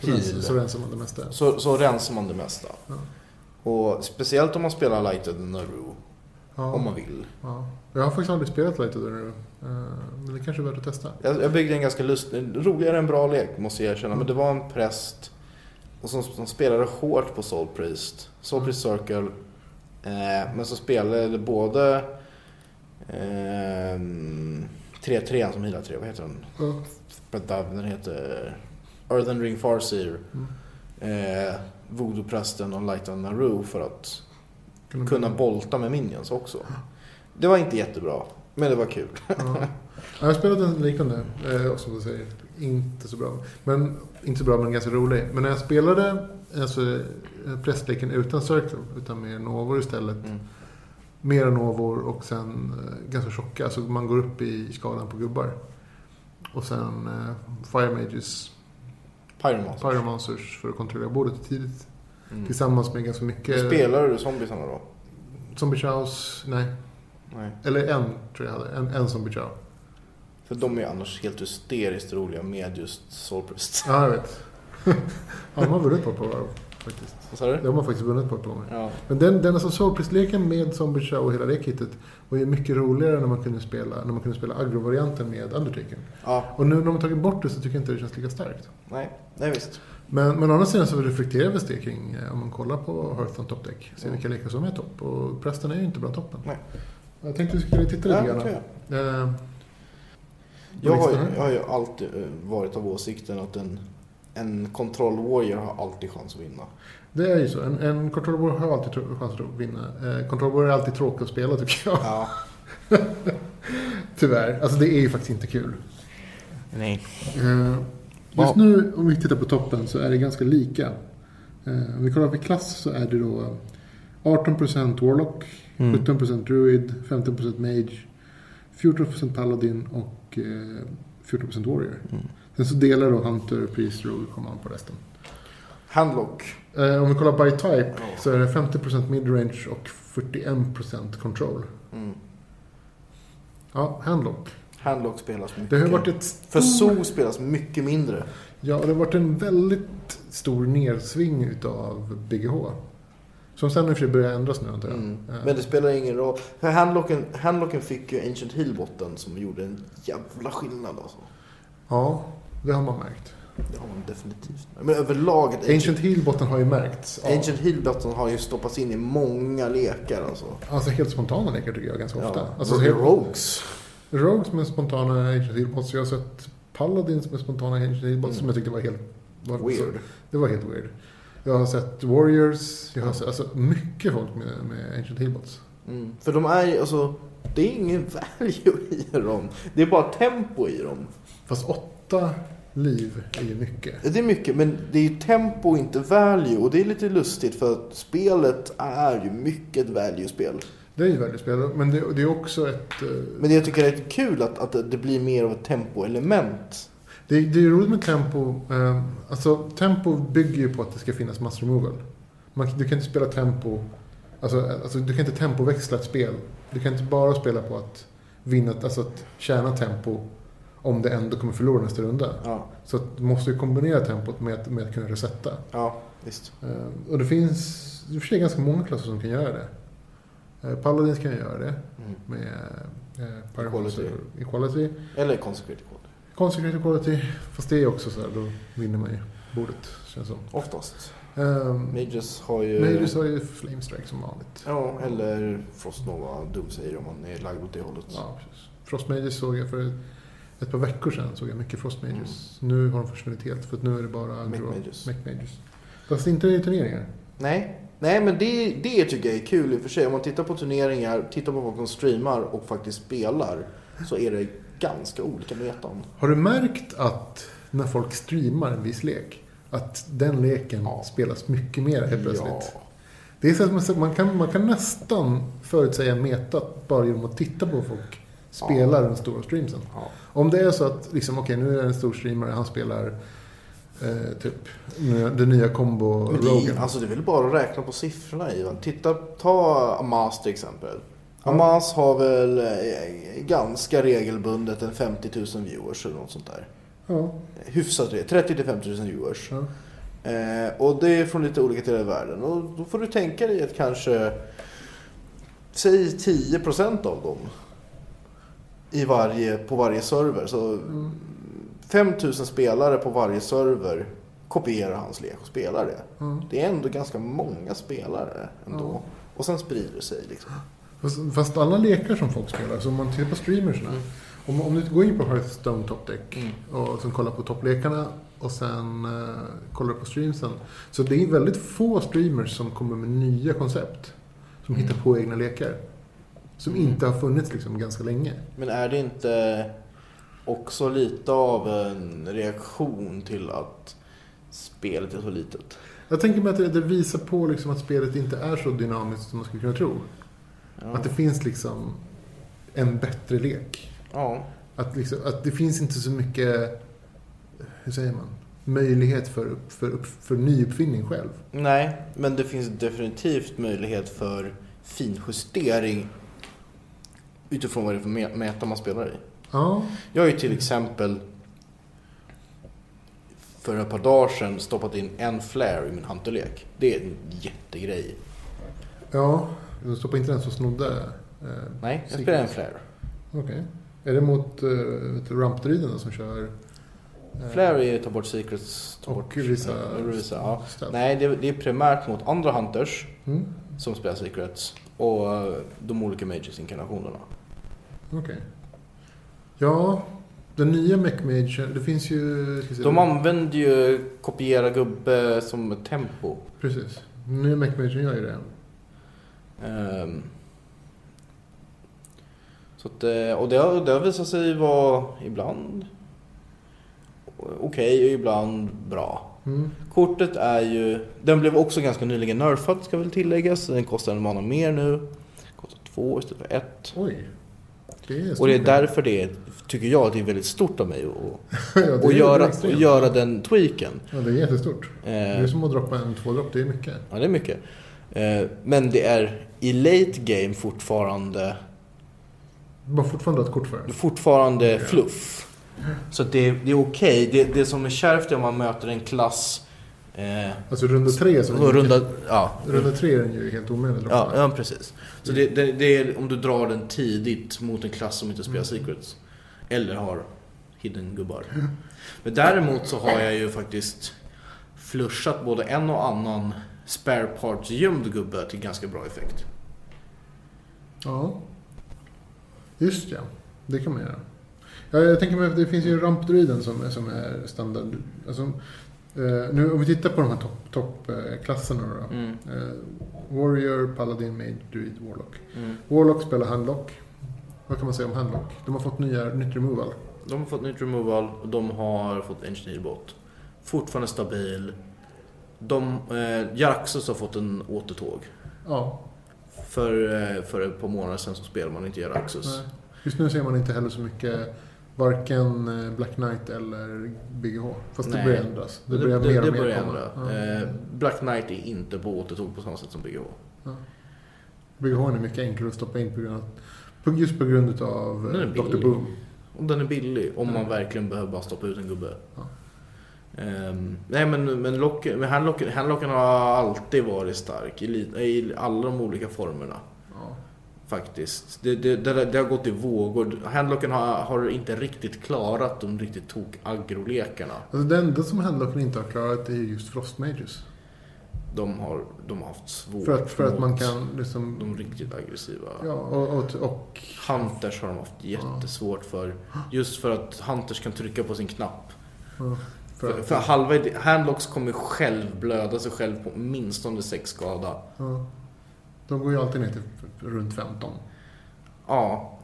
Speaker 2: Så,
Speaker 1: Heal.
Speaker 2: rensar, så rensar man det mesta.
Speaker 1: Så, så rensar man det mesta.
Speaker 2: Ja.
Speaker 1: Och speciellt om man spelar Lighted and Naru.
Speaker 2: Ja.
Speaker 1: Om man vill.
Speaker 2: Ja. Jag har faktiskt aldrig spelat Light Other nu. Eh, Men det kanske är värt att testa.
Speaker 1: Jag, jag byggde en ganska lustig, roligare än bra lek måste jag erkänna. Men det var en präst och som, som spelade hårt på Soul Priest. Soul Priest
Speaker 2: Mm.
Speaker 1: Circle. Eh, men så spelade både eh, 3-3 som healar 3, vad heter den?
Speaker 2: Ja.
Speaker 1: vänta, den heter Earthen Ring Farseer.
Speaker 2: Mm.
Speaker 1: Eh, Voodoo-prästen och Light on Naru för att
Speaker 2: Kunde-
Speaker 1: kunna bolta med minions också. Det var inte jättebra, men det var kul.
Speaker 2: Ja. Jag har spelat en liknande, eh, och som du säger, inte så bra. Men, inte så bra, men ganska rolig. Men när jag spelade alltså, eh, prästleken utan Circle, utan med novor istället.
Speaker 1: Mm.
Speaker 2: Mer novor och sen eh, ganska tjocka, så man går upp i skalan på gubbar. Och sen eh, Fire Mages,
Speaker 1: Pyromancer.
Speaker 2: Pyromancers för att kontrollera bordet tidigt.
Speaker 1: Mm.
Speaker 2: Tillsammans med ganska mycket...
Speaker 1: Spelar du zombiesarna då?
Speaker 2: Zombie Chows, nej.
Speaker 1: Nej.
Speaker 2: Eller en, tror jag hade. En, en Zombie Chow.
Speaker 1: För de är ju annars helt hysteriskt roliga med just Soulprest.
Speaker 2: Ja, jag vet. ja, de har vunnit på ett par varv faktiskt.
Speaker 1: Vad sa du?
Speaker 2: De har faktiskt vunnit på ett par gånger.
Speaker 1: Ja.
Speaker 2: Men den, den alltså Soulpress-leken med Zombie Show och hela det kittet var ju mycket roligare när man kunde spela, när man kunde spela agro-varianten med Undertaker.
Speaker 1: ja.
Speaker 2: Och nu när de har tagit bort det så tycker jag inte det känns lika starkt.
Speaker 1: Nej. Nej, visst.
Speaker 2: Men, men å andra sidan så reflekteras det kring, eh, om man kollar på Hearthstone Top Deck, ser
Speaker 1: Ja.
Speaker 2: vilka lekar som är topp. Och prästen är ju inte bland toppen.
Speaker 1: Nej.
Speaker 2: Jag tänkte vi skulle titta lite
Speaker 1: Ja,
Speaker 2: grann.
Speaker 1: kan jag.
Speaker 2: Eh, på
Speaker 1: Jag har, ju,
Speaker 2: listan här.
Speaker 1: jag har ju alltid eh, varit av åsikten att en, en control warrior har alltid chans att vinna.
Speaker 2: Det är ju så. En, en Control War har alltid tro- chans att vinna. Eh, Control War är alltid tråkig att spela tycker jag.
Speaker 1: Ja.
Speaker 2: Tyvärr. Alltså det är ju faktiskt inte kul.
Speaker 1: Nej.
Speaker 2: Eh,
Speaker 1: Ja.
Speaker 2: Just nu om vi tittar på toppen så är det ganska lika. Eh, Om vi kollar på klass så är det då 18% Warlock,
Speaker 1: Mm.
Speaker 2: 17% Druid, 15% Mage, 14% Paladin och eh, 14% Warrior.
Speaker 1: Mm.
Speaker 2: Sen så delar då Hunter, Priest, Rogue och Command på resten.
Speaker 1: Handlock.
Speaker 2: Eh, Om vi kollar by type
Speaker 1: Ja.
Speaker 2: så är det 50% midrange och 41% control.
Speaker 1: Mm.
Speaker 2: Ja, handlock.
Speaker 1: Handlock spelas mycket.
Speaker 2: Det har ju varit ett
Speaker 1: För zoo spelas mycket mindre.
Speaker 2: Ja, och det har varit en väldigt stor nedsving utav BGH. Som sen i och för sig börjar ändras nu antar jag.
Speaker 1: Mm.
Speaker 2: Eh,
Speaker 1: Men det spelar ingen roll. För handlocken, handlocken fick ju Ancient Healbotten som gjorde en jävla skillnad alltså.
Speaker 2: Ja, det har man märkt.
Speaker 1: Det har man definitivt. Men överlag, att
Speaker 2: Ancient Healbotten har ju märkts. av-
Speaker 1: Ancient Healbotten har ju stoppats in i många lekar alltså.
Speaker 2: Alltså helt spontana lekar tycker jag ganska ofta.
Speaker 1: Ja.
Speaker 2: Alltså,
Speaker 1: Ro-
Speaker 2: helt-
Speaker 1: Rogues.
Speaker 2: Rogues med spontana Ancient Healbots. Jag har sett Paladins med spontana Ancient Healbots
Speaker 1: Mm.
Speaker 2: som jag tyckte var helt... Var,
Speaker 1: Weird.
Speaker 2: Det var helt weird. Jag har sett Warriors. Jag har sett, alltså, mycket folk med, med Ancient Healbots.
Speaker 1: Mm. För de är ju, alltså, det är ingen value i dem. Det är bara tempo i dem.
Speaker 2: Fast åtta liv är ju mycket.
Speaker 1: Det är mycket, men det är ju tempo och inte value. Och det är lite lustigt för att spelet är ju mycket ett value-spel.
Speaker 2: Det är ju väldigt spelare, men det, det är också ett... eh,
Speaker 1: Men det jag tycker är lite kul att, att det blir mer av ett tempoelement.
Speaker 2: Det, det är ju roligt med tempo. Eh, alltså, tempo bygger ju på att det ska finnas mass removal. Man, du kan inte spela tempo... Alltså, eh, alltså, du kan inte tempoväxla ett spel. Du kan inte bara spela på att vinna, alltså att tjäna tempo om det ändå kommer förlora nästa runda.
Speaker 1: Ja,
Speaker 2: Så att du måste ju kombinera tempot med, att- med att kunna resetta.
Speaker 1: ja visst.
Speaker 2: Eh, och det finns i och för sig ganska många klasser som kan göra det. Eh, Paladins kan göra det
Speaker 1: Mm.
Speaker 2: med eh,
Speaker 1: Equality.
Speaker 2: Equality.
Speaker 1: Eller consequent code.
Speaker 2: Consecrated Quality, fast det är också så här, då vinner man ju bordet känns som.
Speaker 1: Oftast.
Speaker 2: Um,
Speaker 1: Mages har ju...
Speaker 2: Majors har ju Flame Strike som vanligt.
Speaker 1: Ja, eller Frostnova Doomsayer om man är lagd åt det hållet.
Speaker 2: Ja, precis. Frost Majors såg jag för ett par veckor sedan, såg jag mycket Frost Majors.
Speaker 1: Mm.
Speaker 2: Nu har de försvunnit helt, för att nu är det bara
Speaker 1: Mech
Speaker 2: Agro
Speaker 1: Mages.
Speaker 2: Mech Majors. Fast inte i turneringar.
Speaker 1: Nej. Nej, men det, det tycker jag är kul i och för sig. Om man tittar på turneringar, tittar på folk som streamar och faktiskt spelar så är det ganska olika metan.
Speaker 2: Har du märkt att när folk streamar en viss lek, att den leken
Speaker 1: Ja.
Speaker 2: spelas mycket mer helt plötsligt?
Speaker 1: Ja.
Speaker 2: Det är så att man- man kan, man kan nästan förutsäga metat bara genom att titta på hur folk spelar den stora streamsen.
Speaker 1: Ja.
Speaker 2: Om det är så att, liksom, okej nu är det en stor streamare, han spelar eh, typ nu- den nya combo
Speaker 1: Men det, är-
Speaker 2: Rogan.
Speaker 1: alltså det är väl bara att räkna på siffrorna Ivan. Titta, ta Amas till exempel. Amas har väl eh, ganska regelbundet en 50 000 viewers eller något sånt där.
Speaker 2: Ja,
Speaker 1: Hyfsat det, 30 000 50 000 viewers.
Speaker 2: ja.
Speaker 1: Eh, och det är från lite olika delar av världen. Och då får du tänka dig att kanske, säg 10% av dem i varje, på varje server. Så
Speaker 2: Mm,
Speaker 1: 5 000 spelare på varje server kopierar hans lek och spelar det.
Speaker 2: Mm.
Speaker 1: Det är ändå ganska många spelare ändå.
Speaker 2: Ja.
Speaker 1: Och sen sprider det sig liksom.
Speaker 2: Fast, fast alla lekar som folk spelar, så om man tittar på streamersna. Om, om du går in på Hearthstone Top Deck
Speaker 1: Mm.
Speaker 2: och sen kollar på topplekarna och sen eh, kollar på streamsen. Så det är väldigt få streamers som kommer med nya koncept. Som
Speaker 1: Mm.
Speaker 2: hittar på egna lekar. Som
Speaker 1: Mm.
Speaker 2: inte har funnits liksom ganska länge.
Speaker 1: Men är det inte också lite av en reaktion till att spelet är så litet?
Speaker 2: Jag tänker mig att det, det visar på liksom att spelet inte är så dynamiskt som man skulle kunna tro.
Speaker 1: Ja.
Speaker 2: Att det finns liksom en bättre lek.
Speaker 1: ja.
Speaker 2: Att, liksom, att det finns inte så mycket, hur säger man, möjlighet för, upp- för, upp- för nyuppfinning själv.
Speaker 1: Nej, men det finns definitivt möjlighet för finjustering utifrån vad det är för mä- mäta man spelar i.
Speaker 2: Ja,
Speaker 1: Jag har ju till exempel för ett par dagar sedan stoppat in en flare i min hanterlek. Det är en jättegrej.
Speaker 2: ja. De stoppade inte den som snodde. Eh,
Speaker 1: Nej, jag
Speaker 2: Secret.
Speaker 1: spelar en flare.
Speaker 2: Okej. Är det mot äh, rampdryden som kör? eh,
Speaker 1: Flare är ta bort secrets, ta
Speaker 2: Och
Speaker 1: bort...
Speaker 2: Risa-
Speaker 1: eh, Risa, ja.
Speaker 2: stealth?
Speaker 1: Nej, det, det är primärt mot andra hunters
Speaker 2: Mm,
Speaker 1: som spelar secrets och eh, de olika mages-inkarnationerna.
Speaker 2: Okej. Ja, den nya MechMage, det finns ju... ska vi se,
Speaker 1: De använder ju kopiera gubbe som tempo.
Speaker 2: Precis. Den nya MechMage gör ju det.
Speaker 1: Ehm. Så att, eh, och det har, det har visat sig vara ibland okej och ibland bra.
Speaker 2: Mm.
Speaker 1: Kortet är ju... Den blev också ganska nyligen nerfad ska väl tilläggas. Den kostar en mana mer nu. Kostar två istället för ett.
Speaker 2: Oj. Det är
Speaker 1: Och det är
Speaker 2: stort.
Speaker 1: därför det är, tycker jag, att det är väldigt stort av mig att
Speaker 2: ja, det
Speaker 1: och
Speaker 2: är
Speaker 1: göra, och
Speaker 2: extremt.
Speaker 1: göra den tweaken.
Speaker 2: Ja, det är jättestort. Det är
Speaker 1: Eh,
Speaker 2: som att droppa en tvådropp, det är mycket.
Speaker 1: ja, det är mycket. Eh, men det är i late game fortfarande
Speaker 2: Man har fortfarande ett kort för
Speaker 1: Det är
Speaker 2: det.
Speaker 1: fortfarande
Speaker 2: Ja.
Speaker 1: fluff. Så att det, det är okej. Det, det som är kärvt är om man möter en klass... Eh,
Speaker 2: Alltså runda tre så
Speaker 1: och runda, ja,
Speaker 2: runda tre är den ju helt omöjlig att
Speaker 1: ja,
Speaker 2: droppa.
Speaker 1: ja, precis. Så det, det, det är om du drar den tidigt mot en klass som inte spelar Secrets. Eller har hidden gubbar. Men däremot så har jag ju faktiskt flushat både en och annan spare parts gömd gubbe till ganska bra effekt.
Speaker 2: Ja. Just ja, det kan man göra. Ja, jag tänker mig att det finns ju rampdruiden som, är- som är standard. Alltså, eh, nu om vi tittar på de här toppklasserna top, eh, klasserna då.
Speaker 1: Mm,
Speaker 2: Eh, Warrior, Paladin, Mage, Druid, Warlock.
Speaker 1: mm.
Speaker 2: Warlock spelar Handlock. Vad kan man säga om Handlock? De har fått nya, nytt removal.
Speaker 1: De har fått nytt removal och de har fått engineerbot. Fortfarande stabil. De, eh, Jaraxus har fått en återtåg.
Speaker 2: Ja,
Speaker 1: För, eh, för ett par månader sedan så spelade man inte Jaraxus.
Speaker 2: nej. Just nu ser man inte heller så mycket varken eh, Black Knight eller BGH. Fast
Speaker 1: Nej.
Speaker 2: det börjar ändras. Det
Speaker 1: Det-
Speaker 2: börjar
Speaker 1: det-
Speaker 2: mer och
Speaker 1: det
Speaker 2: mer
Speaker 1: börjar
Speaker 2: komma.
Speaker 1: ändra.
Speaker 2: Ja.
Speaker 1: Eh, Black Knight är inte på återtåg på samma sätt som BGH.
Speaker 2: BGH är mycket enklare att stoppa in på grund av, på- just på grund av
Speaker 1: Den är
Speaker 2: eh, Dr.
Speaker 1: billig.
Speaker 2: Boom.
Speaker 1: Och den är billig om man
Speaker 2: Mm.
Speaker 1: verkligen behöver bara stoppa ut en gubbe.
Speaker 2: Ja.
Speaker 1: Ehm, nej men, men, lock, men handlocken, handlocken har alltid varit stark i, li- i alla de olika formerna.
Speaker 2: Ja.
Speaker 1: Faktiskt. Det, det, det, det har gått i vågor. Handlocken har, har inte riktigt klarat de riktigt tok-aggro-lekarna.
Speaker 2: Alltså det enda som Handlocken inte har klarat är just Frost Mages.
Speaker 1: De har, de har haft svårt
Speaker 2: För att, för att man
Speaker 1: mot
Speaker 2: kan liksom...
Speaker 1: Oh, de riktigt aggressiva.
Speaker 2: Ja, och, och, och
Speaker 1: Hunters har de haft jättesvårt för. Just för att Hunters kan trycka på sin knapp.
Speaker 2: ja,
Speaker 1: För,
Speaker 2: för
Speaker 1: för
Speaker 2: att,
Speaker 1: halva ide- Handlocks kommer själv blöda sig själv på åtminstone sex skada.
Speaker 2: ja. De går ju alltid ner till f- runt 15.
Speaker 1: Ja,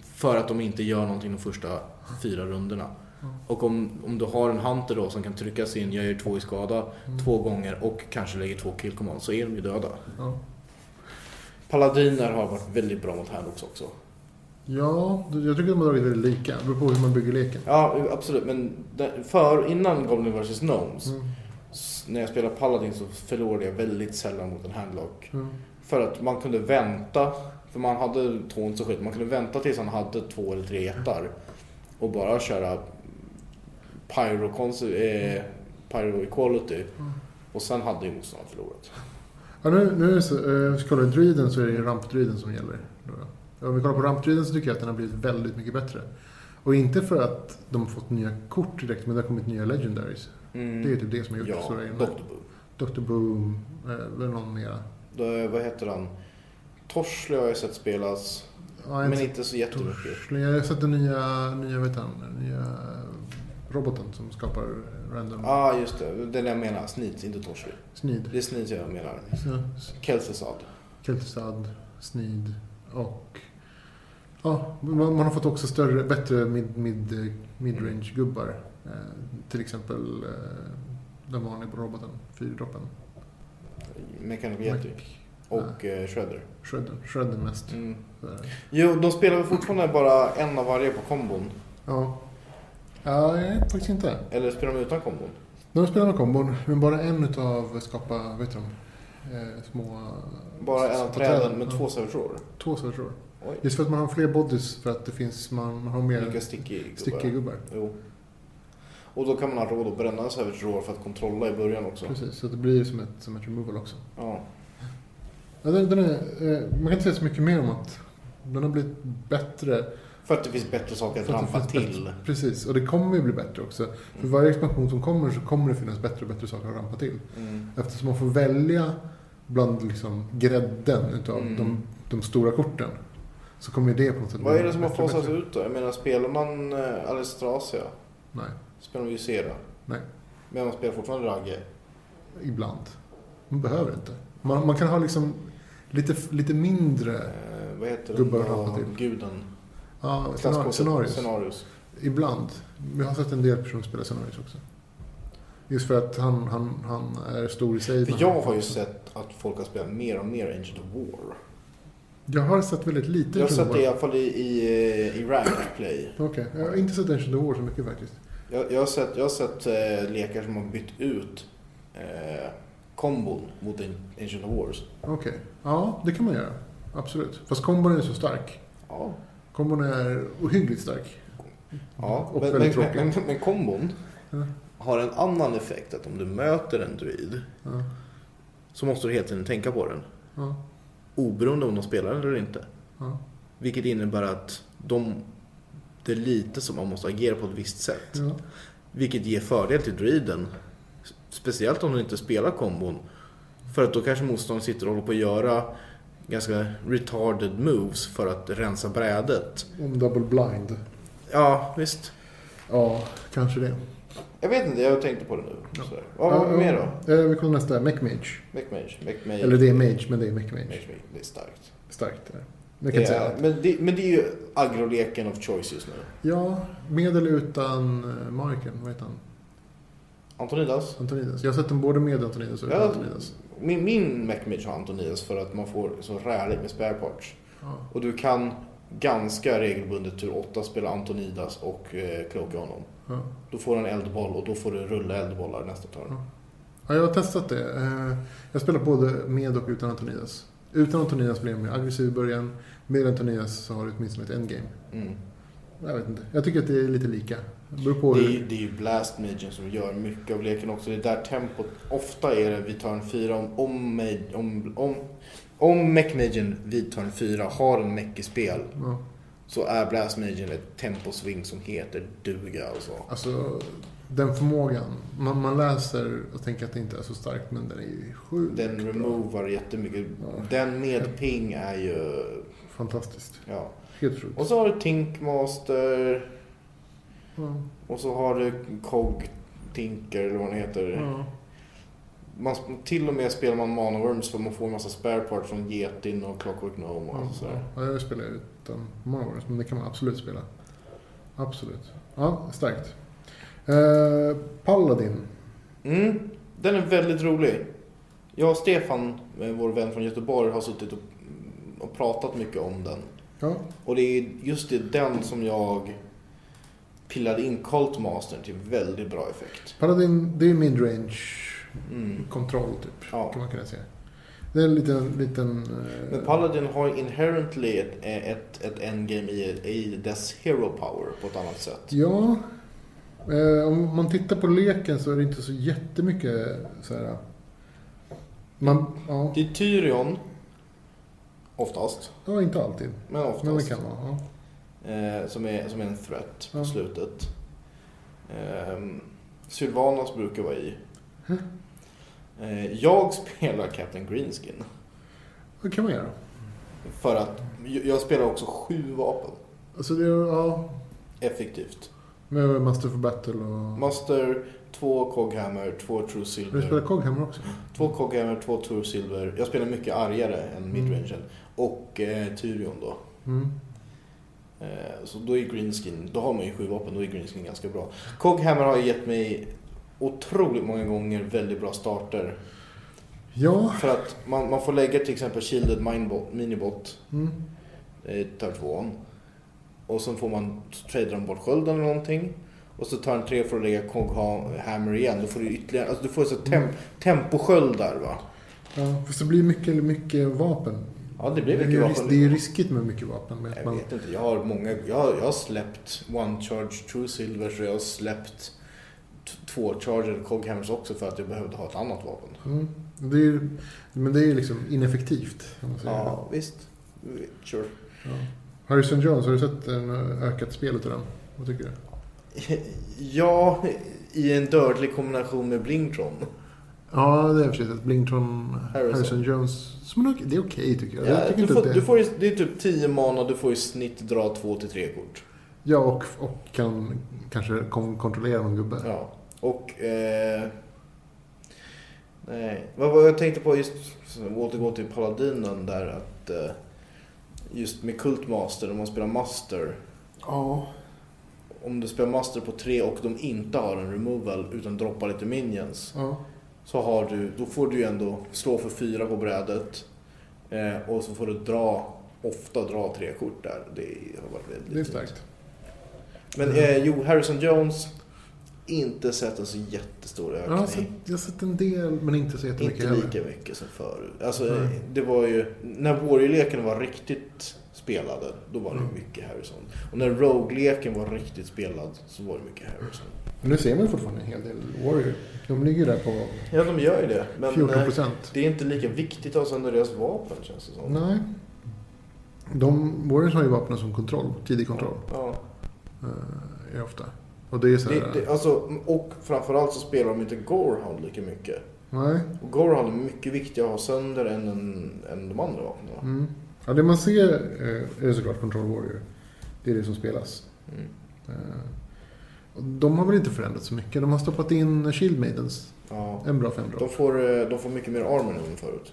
Speaker 1: för att de inte gör någonting de första fyra rundorna.
Speaker 2: Mm.
Speaker 1: Och om, om du har en hunter då som kan trycka sig in, jag gör två i skada
Speaker 2: Mm.
Speaker 1: två gånger och kanske lägger två kill command, så är de ju döda.
Speaker 2: Ja.
Speaker 1: Paladiner har varit väldigt bra mot Handlocks också.
Speaker 2: Ja, jag tycker de har dragit väldigt lika. Det beror på hur man bygger leken.
Speaker 1: Ja, absolut. Men där- för, innan Goblin vs. Gnomes,
Speaker 2: Mm.
Speaker 1: s- när jag spelade Paladin så förlorade jag väldigt sällan mot en Handlock.
Speaker 2: Mm.
Speaker 1: För att man kunde vänta, för man hade två inte så skit, man kunde vänta tills han hade två eller tre jättar och bara köra pyro, eh, pyro equality
Speaker 2: Mm.
Speaker 1: och sen hade ju motståndaren förlorat.
Speaker 2: Ja, nu, nu är det så, eh, ska vi kolla druiden så är det ju rampdruiden som gäller. Då. Ja, Om vi kollar på rampdruiden så tycker jag att den har blivit väldigt mycket bättre. Och inte för att de har fått nya kort direkt, men det har kommit nya legendaries.
Speaker 1: Mm.
Speaker 2: Det är ju typ det som har gjort det
Speaker 1: Ja,
Speaker 2: stora grejen.
Speaker 1: Dr. Boom.
Speaker 2: Dr. Boom, eh, eller någon mera.
Speaker 1: Då, vad heter han? Torsle har jag sett spelas,
Speaker 2: Ja,
Speaker 1: men
Speaker 2: inte
Speaker 1: inte så jättemycket.
Speaker 2: Torsling. Jag har sett den nya, nya, vet han, nya roboten som skapar random
Speaker 1: Ja, ah, just det. Den jag menar. Snit, inte Torsle.
Speaker 2: snid.
Speaker 1: Det är Snit jag menar.
Speaker 2: Så,
Speaker 1: Kelsesad.
Speaker 2: Keltesad, snid och... Ja, man man har fått också större, bättre mid, mid, midrange-gubbar. Eh, till exempel eh, den vanliga roboten, fyrdroppen.
Speaker 1: Mechanical Jetty. Och eh, Shredder.
Speaker 2: Shredden, shredden mest. eh,
Speaker 1: Mm.
Speaker 2: Så,
Speaker 1: Jo, de spelar väl fortfarande bara en av varje på kombon?
Speaker 2: Ja. Ja, jag vet faktiskt inte.
Speaker 1: Eller spelar de utan kombon?
Speaker 2: De spelar med kombon, men bara en utav skapa, vet du de, eh, små...
Speaker 1: Bara en av
Speaker 2: små
Speaker 1: träden med
Speaker 2: ja.
Speaker 1: två servitråder?
Speaker 2: Två servrar.
Speaker 1: Oj,
Speaker 2: Just för att man har fler bodies för att det finns, man har mer
Speaker 1: mycket stickig
Speaker 2: stycke
Speaker 1: gubbar.
Speaker 2: gubbar.
Speaker 1: Jo. Och då kan man ha råd att bränna en servitråd för att kontrolla i början också.
Speaker 2: Precis, så det blir som ett, som ett removal också.
Speaker 1: Ja.
Speaker 2: Ja, den, den är, eh, man kan inte säga så mycket mer om att den har blivit bättre.
Speaker 1: För att det finns bättre saker att
Speaker 2: För att det
Speaker 1: rampa
Speaker 2: finns
Speaker 1: till.
Speaker 2: Precis, och det kommer ju bli bättre också. För
Speaker 1: Mm.
Speaker 2: varje expansion som kommer så kommer det finnas bättre och bättre saker att rampa till.
Speaker 1: Mm.
Speaker 2: Eftersom man får välja bland liksom grädden utav
Speaker 1: Mm.
Speaker 2: de, de stora korten. Så kommer ju det på något sätt
Speaker 1: Vad är
Speaker 2: bli
Speaker 1: det som har
Speaker 2: bättre och
Speaker 1: fasats
Speaker 2: bättre.
Speaker 1: ut då? Jag menar, spelar man eh, Alistrasia?
Speaker 2: Nej,
Speaker 1: Spelar man Ysera?
Speaker 2: Nej.
Speaker 1: Men man spelar fortfarande Ragge?
Speaker 2: ibland. Man behöver inte. Man, man kan ha liksom lite, lite mindre
Speaker 1: Eh, vad heter
Speaker 2: Gubbar
Speaker 1: den
Speaker 2: rampa
Speaker 1: då?
Speaker 2: till.
Speaker 1: Guden?
Speaker 2: ja, scenar-
Speaker 1: Klasskortet?
Speaker 2: scenarios.
Speaker 1: Scenarios.
Speaker 2: Ibland. Jag har sett en del personer spela scenarios också. Just för att han, han, han är stor i sig.
Speaker 1: För
Speaker 2: men-
Speaker 1: jag har ju sett att folk har spelat mer och mer Ancient of War.
Speaker 2: Jag har sett väldigt lite.
Speaker 1: Jag har
Speaker 2: Ancient
Speaker 1: sett det i alla fall i, i, eh, i ranked play.
Speaker 2: War. Okej, jag har inte sett Ancient War så mycket faktiskt.
Speaker 1: Jag, jag har sett, jag har sett eh, lekar som har bytt ut eh, kombon mot en- Ancient of Wars.
Speaker 2: Okej, ja det kan man göra. Absolut. Fast kombon är så stark.
Speaker 1: Ja,
Speaker 2: Kombon är ohyggligt stark.
Speaker 1: ja.
Speaker 2: Och
Speaker 1: Men, men,
Speaker 2: väldigt
Speaker 1: men,
Speaker 2: tråkig.
Speaker 1: men, men kombon
Speaker 2: Ja.
Speaker 1: har en annan effekt. Att om du möter en druid
Speaker 2: Ja,
Speaker 1: så måste du hela tiden tänka på den.
Speaker 2: ja,
Speaker 1: Oberoende om de spelar eller inte.
Speaker 2: ja.
Speaker 1: Vilket innebär att de, det är lite som man måste agera på ett visst sätt.
Speaker 2: ja.
Speaker 1: Vilket ger fördel till druiden. Speciellt om den inte spelar kombon. För att då kanske motståndaren sitter och håller på att göra ganska retarded moves för att rensa brädet.
Speaker 2: Om double blind.
Speaker 1: Ja, visst.
Speaker 2: Ja, kanske det.
Speaker 1: Jag vet inte, jag tänkte på det nu.
Speaker 2: Ja.
Speaker 1: Sådär. Vad har vi
Speaker 2: Ja,
Speaker 1: mer då?
Speaker 2: ja. Eh, vi kollar nästa. Mechmage.
Speaker 1: Mechmage. Mechmage.
Speaker 2: Eller det är Mage, men det är Mechmage.
Speaker 1: Mechmage. Det är starkt.
Speaker 2: Starkt är det. Jag kan
Speaker 1: Det
Speaker 2: inte säga
Speaker 1: är,
Speaker 2: att
Speaker 1: men, det, men det är ju agroleken of choice just nu.
Speaker 2: Ja, med eller utan eh, Marken, vad heter han?
Speaker 1: Antonidas.
Speaker 2: Antonidas. Jag har sett dem både med Antonidas och utan
Speaker 1: Ja.
Speaker 2: Antonidas.
Speaker 1: Min, min Mechmage har Antonidas för att man får så räligt med spare parts.
Speaker 2: Ja.
Speaker 1: Och du kan ganska regelbundet tur 8 spela Antonidas och eh, kloka honom.
Speaker 2: Ja.
Speaker 1: Då får du en eldboll och då får du rulla eldbollar nästa turn.
Speaker 2: Ja, jag har testat det. Eh, Jag spelar både med och utan Antonidas. Utan Antonidas blir jag mer aggressiv i början. Med Antonidas så har du åtminstone ett endgame.
Speaker 1: Mm.
Speaker 2: Jag vet inte. Jag tycker att det är lite lika. Det beror
Speaker 1: Det,
Speaker 2: på
Speaker 1: är,
Speaker 2: hur...
Speaker 1: ju- det är ju Blast Magen som gör mycket av leken också. Det är där tempot, ofta är det vid turn 4 om, om, ma- om, om, om Mech-Magen vid turn 4 har en mech i spel
Speaker 2: Ja.
Speaker 1: så är Blast Magen ett temposving som heter duga alltså.
Speaker 2: Alltså, den förmågan. Man, man läser och tänker att det inte är så starkt, men den är ju sjukt
Speaker 1: Den
Speaker 2: bra.
Speaker 1: removar jättemycket.
Speaker 2: Ja.
Speaker 1: Den med ping är ju,
Speaker 2: Fantastiskt.
Speaker 1: ja.
Speaker 2: Helt sjukt.
Speaker 1: Och så har du Tinkmaster
Speaker 2: Ja.
Speaker 1: och så har du Cog Tinker eller vad den heter.
Speaker 2: Ja.
Speaker 1: Man, till och med spelar man Manoworms för man får en massa spare parts från Getin och Clockwork Gnome och allt sådär.
Speaker 2: Mm. Ja, jag spelar utan Morgans, men det kan man absolut spela. Absolut. Ja, starkt. Eh, Paladin.
Speaker 1: Mm, den är väldigt rolig. Jag och Stefan, eh, vår vän från Göteborg, har suttit och, och pratat mycket om den.
Speaker 2: Ja,
Speaker 1: Och det är just i den som jag pillade in Cult Master till väldigt bra effekt.
Speaker 2: Paladin, det är midrange
Speaker 1: Mm.
Speaker 2: kontroll typ,
Speaker 1: Ja.
Speaker 2: kan man kunna säga. Det är en liten... liten eh,
Speaker 1: Men Paladin har inherently ett, ett, ett endgame i, i dess hero power på ett annat sätt.
Speaker 2: Ja. Eh, om man tittar på leken så är det inte så jättemycket så här... eh, Man, ja,
Speaker 1: Det är Tyrion, oftast,
Speaker 2: ja, inte alltid.
Speaker 1: men oftast.
Speaker 2: Men det kan vara. Ja.
Speaker 1: Eh, som, är, som är en threat på
Speaker 2: Ja.
Speaker 1: slutet. Ehm, Sylvanas brukar vara i.
Speaker 2: Huh?
Speaker 1: Eh, jag spelar Captain Greenskin.
Speaker 2: Det kan man göra.
Speaker 1: För att jag spelar också sju vapen
Speaker 2: Alltså det, är- ja,
Speaker 1: effektivt.
Speaker 2: med Master for Battle och...
Speaker 1: Master, två Coghammer, två True
Speaker 2: Men du spelar
Speaker 1: Silver.
Speaker 2: Coghammer också?
Speaker 1: Två Coghammer, två True Silver. Jag spelar mycket argare än midrangen. Och eh, Tyrion då.
Speaker 2: Mm.
Speaker 1: Eh, Så då är Greenskin, då har man ju sju vapen, då är Greenskin ganska bra. Coghammer har ju gett mig otroligt många gånger väldigt bra starter.
Speaker 2: Ja.
Speaker 1: För att man, man får lägga till exempel Shielded Minebot, Minibot,
Speaker 2: Mm.
Speaker 1: eh, tar tvåan. Och sen får man tradea dem bort skölden eller någonting. Och så tar en tre för att lägga Coghammer igen. Då får du ytterligare, alltså du får så tem,
Speaker 2: Mm.
Speaker 1: temposköldar va.
Speaker 2: ja. Fast det blir mycket, mycket vapen.
Speaker 1: Ja det blir
Speaker 2: ju
Speaker 1: mycket
Speaker 2: ris- det är ju
Speaker 1: vapen.
Speaker 2: riskigt med mycket vapen. Med att
Speaker 1: Jag
Speaker 2: man...
Speaker 1: vet inte, jag har många, jag, jag har släppt One Charge True Silver så jag har släppt t- två Charger Coghammers också för att jag behövde ha ett annat vapen.
Speaker 2: mm. det är, ju- men det är ju liksom ineffektivt. Om man säger.
Speaker 1: Ja visst, sure.
Speaker 2: Ja. Harrison Jones, har du sett en ökat spel utav den? Vad tycker du?
Speaker 1: Ja, i en dödlig kombination med Blingtron.
Speaker 2: Ja, det är för sig att Blington
Speaker 1: Harrison.
Speaker 2: Harrison, Jones. Som en, det är okej tycker jag. jag
Speaker 1: Ja,
Speaker 2: tycker
Speaker 1: du
Speaker 2: inte
Speaker 1: får,
Speaker 2: att det,
Speaker 1: du får, i- det är typ 10 mana, du får i snitt dra 2 till 3 kort.
Speaker 2: Ja, och, och kan kanske kon- kontrollera någon gubbe.
Speaker 1: Ja. Och... Eh, nej. Vad, vad jag tänkte på just, så återgå till Paladinen där att... Eh, just med Cult Master, om man spelar Master.
Speaker 2: Ja.
Speaker 1: Om du spelar Master på 3 och de inte har en removal utan droppar lite minions.
Speaker 2: ja.
Speaker 1: Så har du, då får du ju ändå slå för 4 på brädet. Eh, och så får du dra, ofta dra 3 kort där. Det har varit väldigt
Speaker 2: Det är
Speaker 1: nyttigt.
Speaker 2: starkt.
Speaker 1: Men eh, jo, Harrison Jones, inte sett en så jättestor
Speaker 2: Ja, jag, har
Speaker 1: ökning.
Speaker 2: sett, jag har sett en del, men inte så jättemycket
Speaker 1: inte
Speaker 2: heller.
Speaker 1: lika mycket som förut. Alltså,
Speaker 2: Nej.
Speaker 1: eh, det var ju, när Warrior-leken var riktigt spelade, då var det
Speaker 2: Mm.
Speaker 1: mycket Harrison. Och när Rogue-leken var riktigt spelad, så var det mycket Harrison.
Speaker 2: Men nu ser man ju fortfarande en hel del Warrior. De ligger där på
Speaker 1: Ja, de gör ju det. Men
Speaker 2: 14
Speaker 1: eh,
Speaker 2: procent.
Speaker 1: det är inte lika viktigt att använda deras vapen, känns det som.
Speaker 2: Nej. De, Warriors har ju vapnen som kontroll, tidig kontroll.
Speaker 1: Ja.
Speaker 2: eh, Är ofta. Och det är så här,
Speaker 1: Det, det, alltså, och framförallt så spelar de inte Gorehound lika mycket.
Speaker 2: Nej.
Speaker 1: Och Gorehound är mycket viktigare att ha sönder än, än, än de andra vapnen. va?
Speaker 2: Mm. Ja, det man ser eh, är ju såklart Control Warrior. Det är det som spelas.
Speaker 1: Mm.
Speaker 2: Eh, och De har väl inte förändrats så mycket. De har stoppat in Shield Maidens.
Speaker 1: Ja.
Speaker 2: En bra, fem bra.
Speaker 1: De får, eh, de får mycket mer armor nu än förut.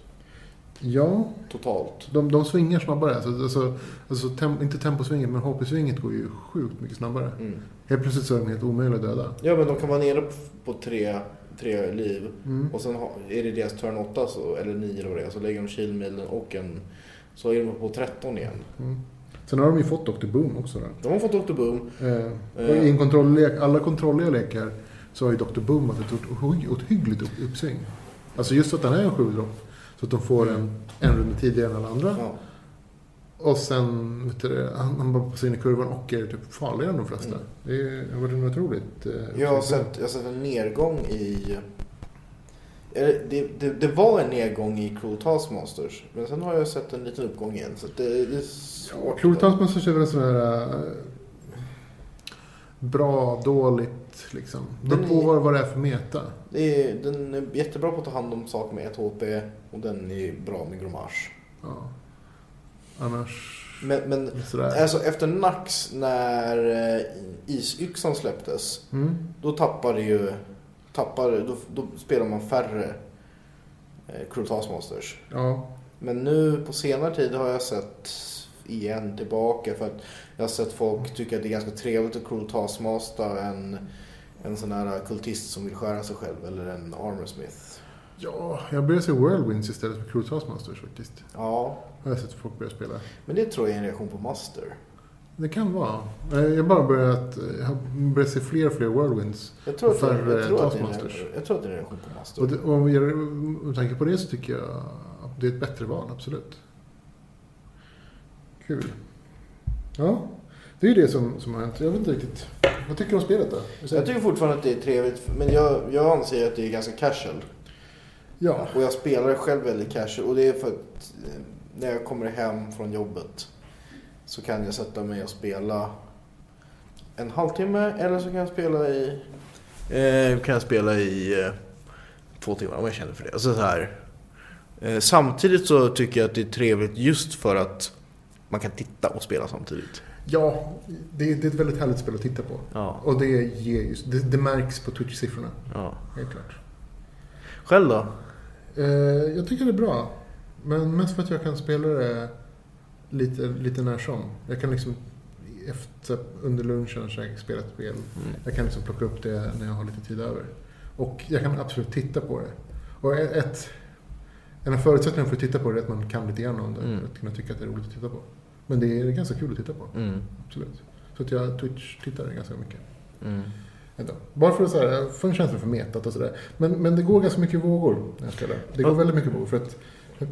Speaker 2: Ja,
Speaker 1: Totalt.
Speaker 2: de, de svingar snabbare. Så, alltså, alltså, tem, inte temposvinget, men HP-svinget går ju sjukt mycket snabbare.
Speaker 1: Mm.
Speaker 2: Helt plötsligt så är de helt omöjliga att döda.
Speaker 1: Ja, men de kan vara nere på, på tre, tre liv.
Speaker 2: Mm.
Speaker 1: Och sen har, är det deras turn 8, så, eller 9 eller vad det är, så lägger de kilmilen och en... Så är de på 13 igen.
Speaker 2: Mm. Sen har de ju fått Dr. Boom också. Då.
Speaker 1: De har fått Dr. Boom.
Speaker 2: Eh, och
Speaker 1: Eh.
Speaker 2: I en kontrolllek, alla kontrolliga lekar så har ju Dr. Boom varit ett ohy- ohyggligt upp- uppsving. Alltså just att den är en 7 Så att de får en, en runda tidigare än alla andra.
Speaker 1: Ja.
Speaker 2: Och sen, vet du, det, han, han bara passar in i kurvan och är typ farligare än de flesta.
Speaker 1: Mm.
Speaker 2: Det är- har varit en otroligt... eh,
Speaker 1: Jag, har
Speaker 2: uppsving.
Speaker 1: sett, jag har sett en nedgång i... eller, Det, det, det var en nedgång i Cruel Taskmasters, men sen har jag sett en liten uppgång igen. Så att det, det är
Speaker 2: Ja,
Speaker 1: svårt.
Speaker 2: Kloritansmönstret är väl en sån här... eh, bra, dåligt liksom. Det beror
Speaker 1: Den
Speaker 2: på
Speaker 1: är-
Speaker 2: vad, vad det är för meta.
Speaker 1: Det är, den är jättebra på att ta hand om saker med 1 HP och den är bra med gromage.
Speaker 2: Ja. Annars...
Speaker 1: Men, men
Speaker 2: Sådär.
Speaker 1: alltså, efter Nax när eh, isyxan släpptes,
Speaker 2: Mm.
Speaker 1: då tappade ju... Tappade, då, då spelar man färre eh, Crueltas Monsters.
Speaker 2: Ja,
Speaker 1: Men nu på senare tid har jag sett igen tillbaka för att jag har sett folk tycka att det är ganska trevligt att Crueltas Master en, en sån här kultist som vill skära sig själv eller en Armorsmith.
Speaker 2: Ja, jag börjar se Whirlwinds istället för Crew Taskmasters faktiskt.
Speaker 1: Ja,
Speaker 2: Har jag sett folk börja spela.
Speaker 1: men det tror jag är en reaktion på Master.
Speaker 2: Det kan vara. Eh, Jag bara börjat, jag har börjat se fler och fler Whirlwinds.
Speaker 1: Jag tror att, det-
Speaker 2: Färre
Speaker 1: jag tror att, det, är
Speaker 2: Taskmasters.
Speaker 1: en- jag tror att det är en reaktion på
Speaker 2: Och,
Speaker 1: Master.
Speaker 2: det, och med, med tanke på det så tycker jag att det är ett bättre val, absolut. Kul. Ja, det är ju det som, som har hänt. Jag vet inte riktigt. Vad tycker du om spelet då? Hur säger
Speaker 1: Jag tycker fortfarande att det är trevligt, men jag, jag anser att det är ganska casual.
Speaker 2: du? Ja.
Speaker 1: Och jag spelar själv väldigt casual och det är för att eh, när jag kommer hem från jobbet så kan jag sätta mig och spela en halvtimme eller så kan jag spela i... Eh, kan jag spela i eh, två timmar om jag känner för det. Alltså så här. Eh, Samtidigt så tycker jag att det är trevligt just för att man kan titta och spela samtidigt.
Speaker 2: Ja, det, det är ett väldigt härligt spel att titta på.
Speaker 1: Ja.
Speaker 2: Och det, ger just, det, det märks på Twitch-siffrorna,
Speaker 1: ja.
Speaker 2: helt klart.
Speaker 1: Själv då?
Speaker 2: Eh, jag tycker det är bra. Men mest för att jag kan spela det lite, lite när som. Jag kan liksom efter, under lunchen så har jag spelat spel.
Speaker 1: Mm.
Speaker 2: Jag kan liksom plocka upp det när jag har lite tid över. Och jag kan absolut titta på det. Och ett, en av förutsättningarna för att titta på det är att man kan lite grann om det.
Speaker 1: Mm.
Speaker 2: För att kunna tycka att det är roligt att titta på. Men det är ganska kul att titta på.
Speaker 1: Mm.
Speaker 2: Absolut. Så att jag Twitch-tittar ganska mycket.
Speaker 1: Mm.
Speaker 2: Ändå. Bara för att så här, få en känsla för metat och sådär. Men, men det går ganska mycket vågor när jag spelar. Det går
Speaker 1: Ja.
Speaker 2: väldigt mycket vågor. För att, för att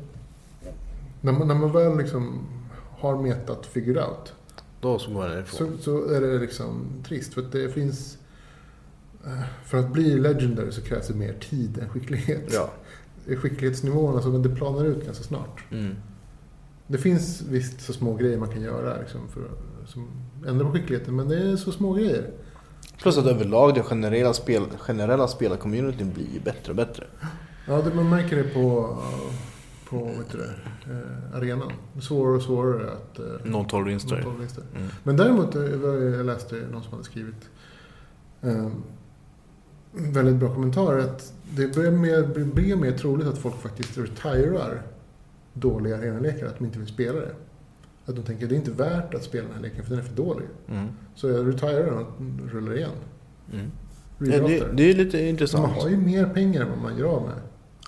Speaker 2: när, man, när man väl liksom har metat figure out
Speaker 1: Då så går jag därifrån.
Speaker 2: så, så är det liksom trist. För att det finns... eh, För att bli legendary så krävs det mer tid än skicklighet.
Speaker 1: Ja.
Speaker 2: Skicklighetsnivån, alltså, men det planar ut ganska snart.
Speaker 1: Mm.
Speaker 2: Det finns visst så små grejer man kan göra liksom, för att som ändra på skickligheten, men det är så små grejer.
Speaker 1: Plus att överlag det generella, spel, generella spelarcommunityn blir ju bättre och bättre.
Speaker 2: Ja, det, man märker det på, på vad heter det, eh, arenan. Svårare och svårare att eh,
Speaker 1: Noll
Speaker 2: nå
Speaker 1: tolervinster.
Speaker 2: tolvvinster.
Speaker 1: Mm.
Speaker 2: Men däremot, eh, vad jag läste någon som hade skrivit eh, väldigt bra kommentarer att det börjar mer, blir mer troligt att folk faktiskt retirar dåliga arenalekar, att de inte vill spela det. Att de tänker det är inte värt att spela den här leken för den är för dålig.
Speaker 1: Mm.
Speaker 2: Så jag retirar den och rullar igen.
Speaker 1: Mm. Ja,
Speaker 2: Redraftar.
Speaker 1: det, det är lite
Speaker 2: Så man
Speaker 1: intressant.
Speaker 2: har ju mer pengar än vad man gör av med.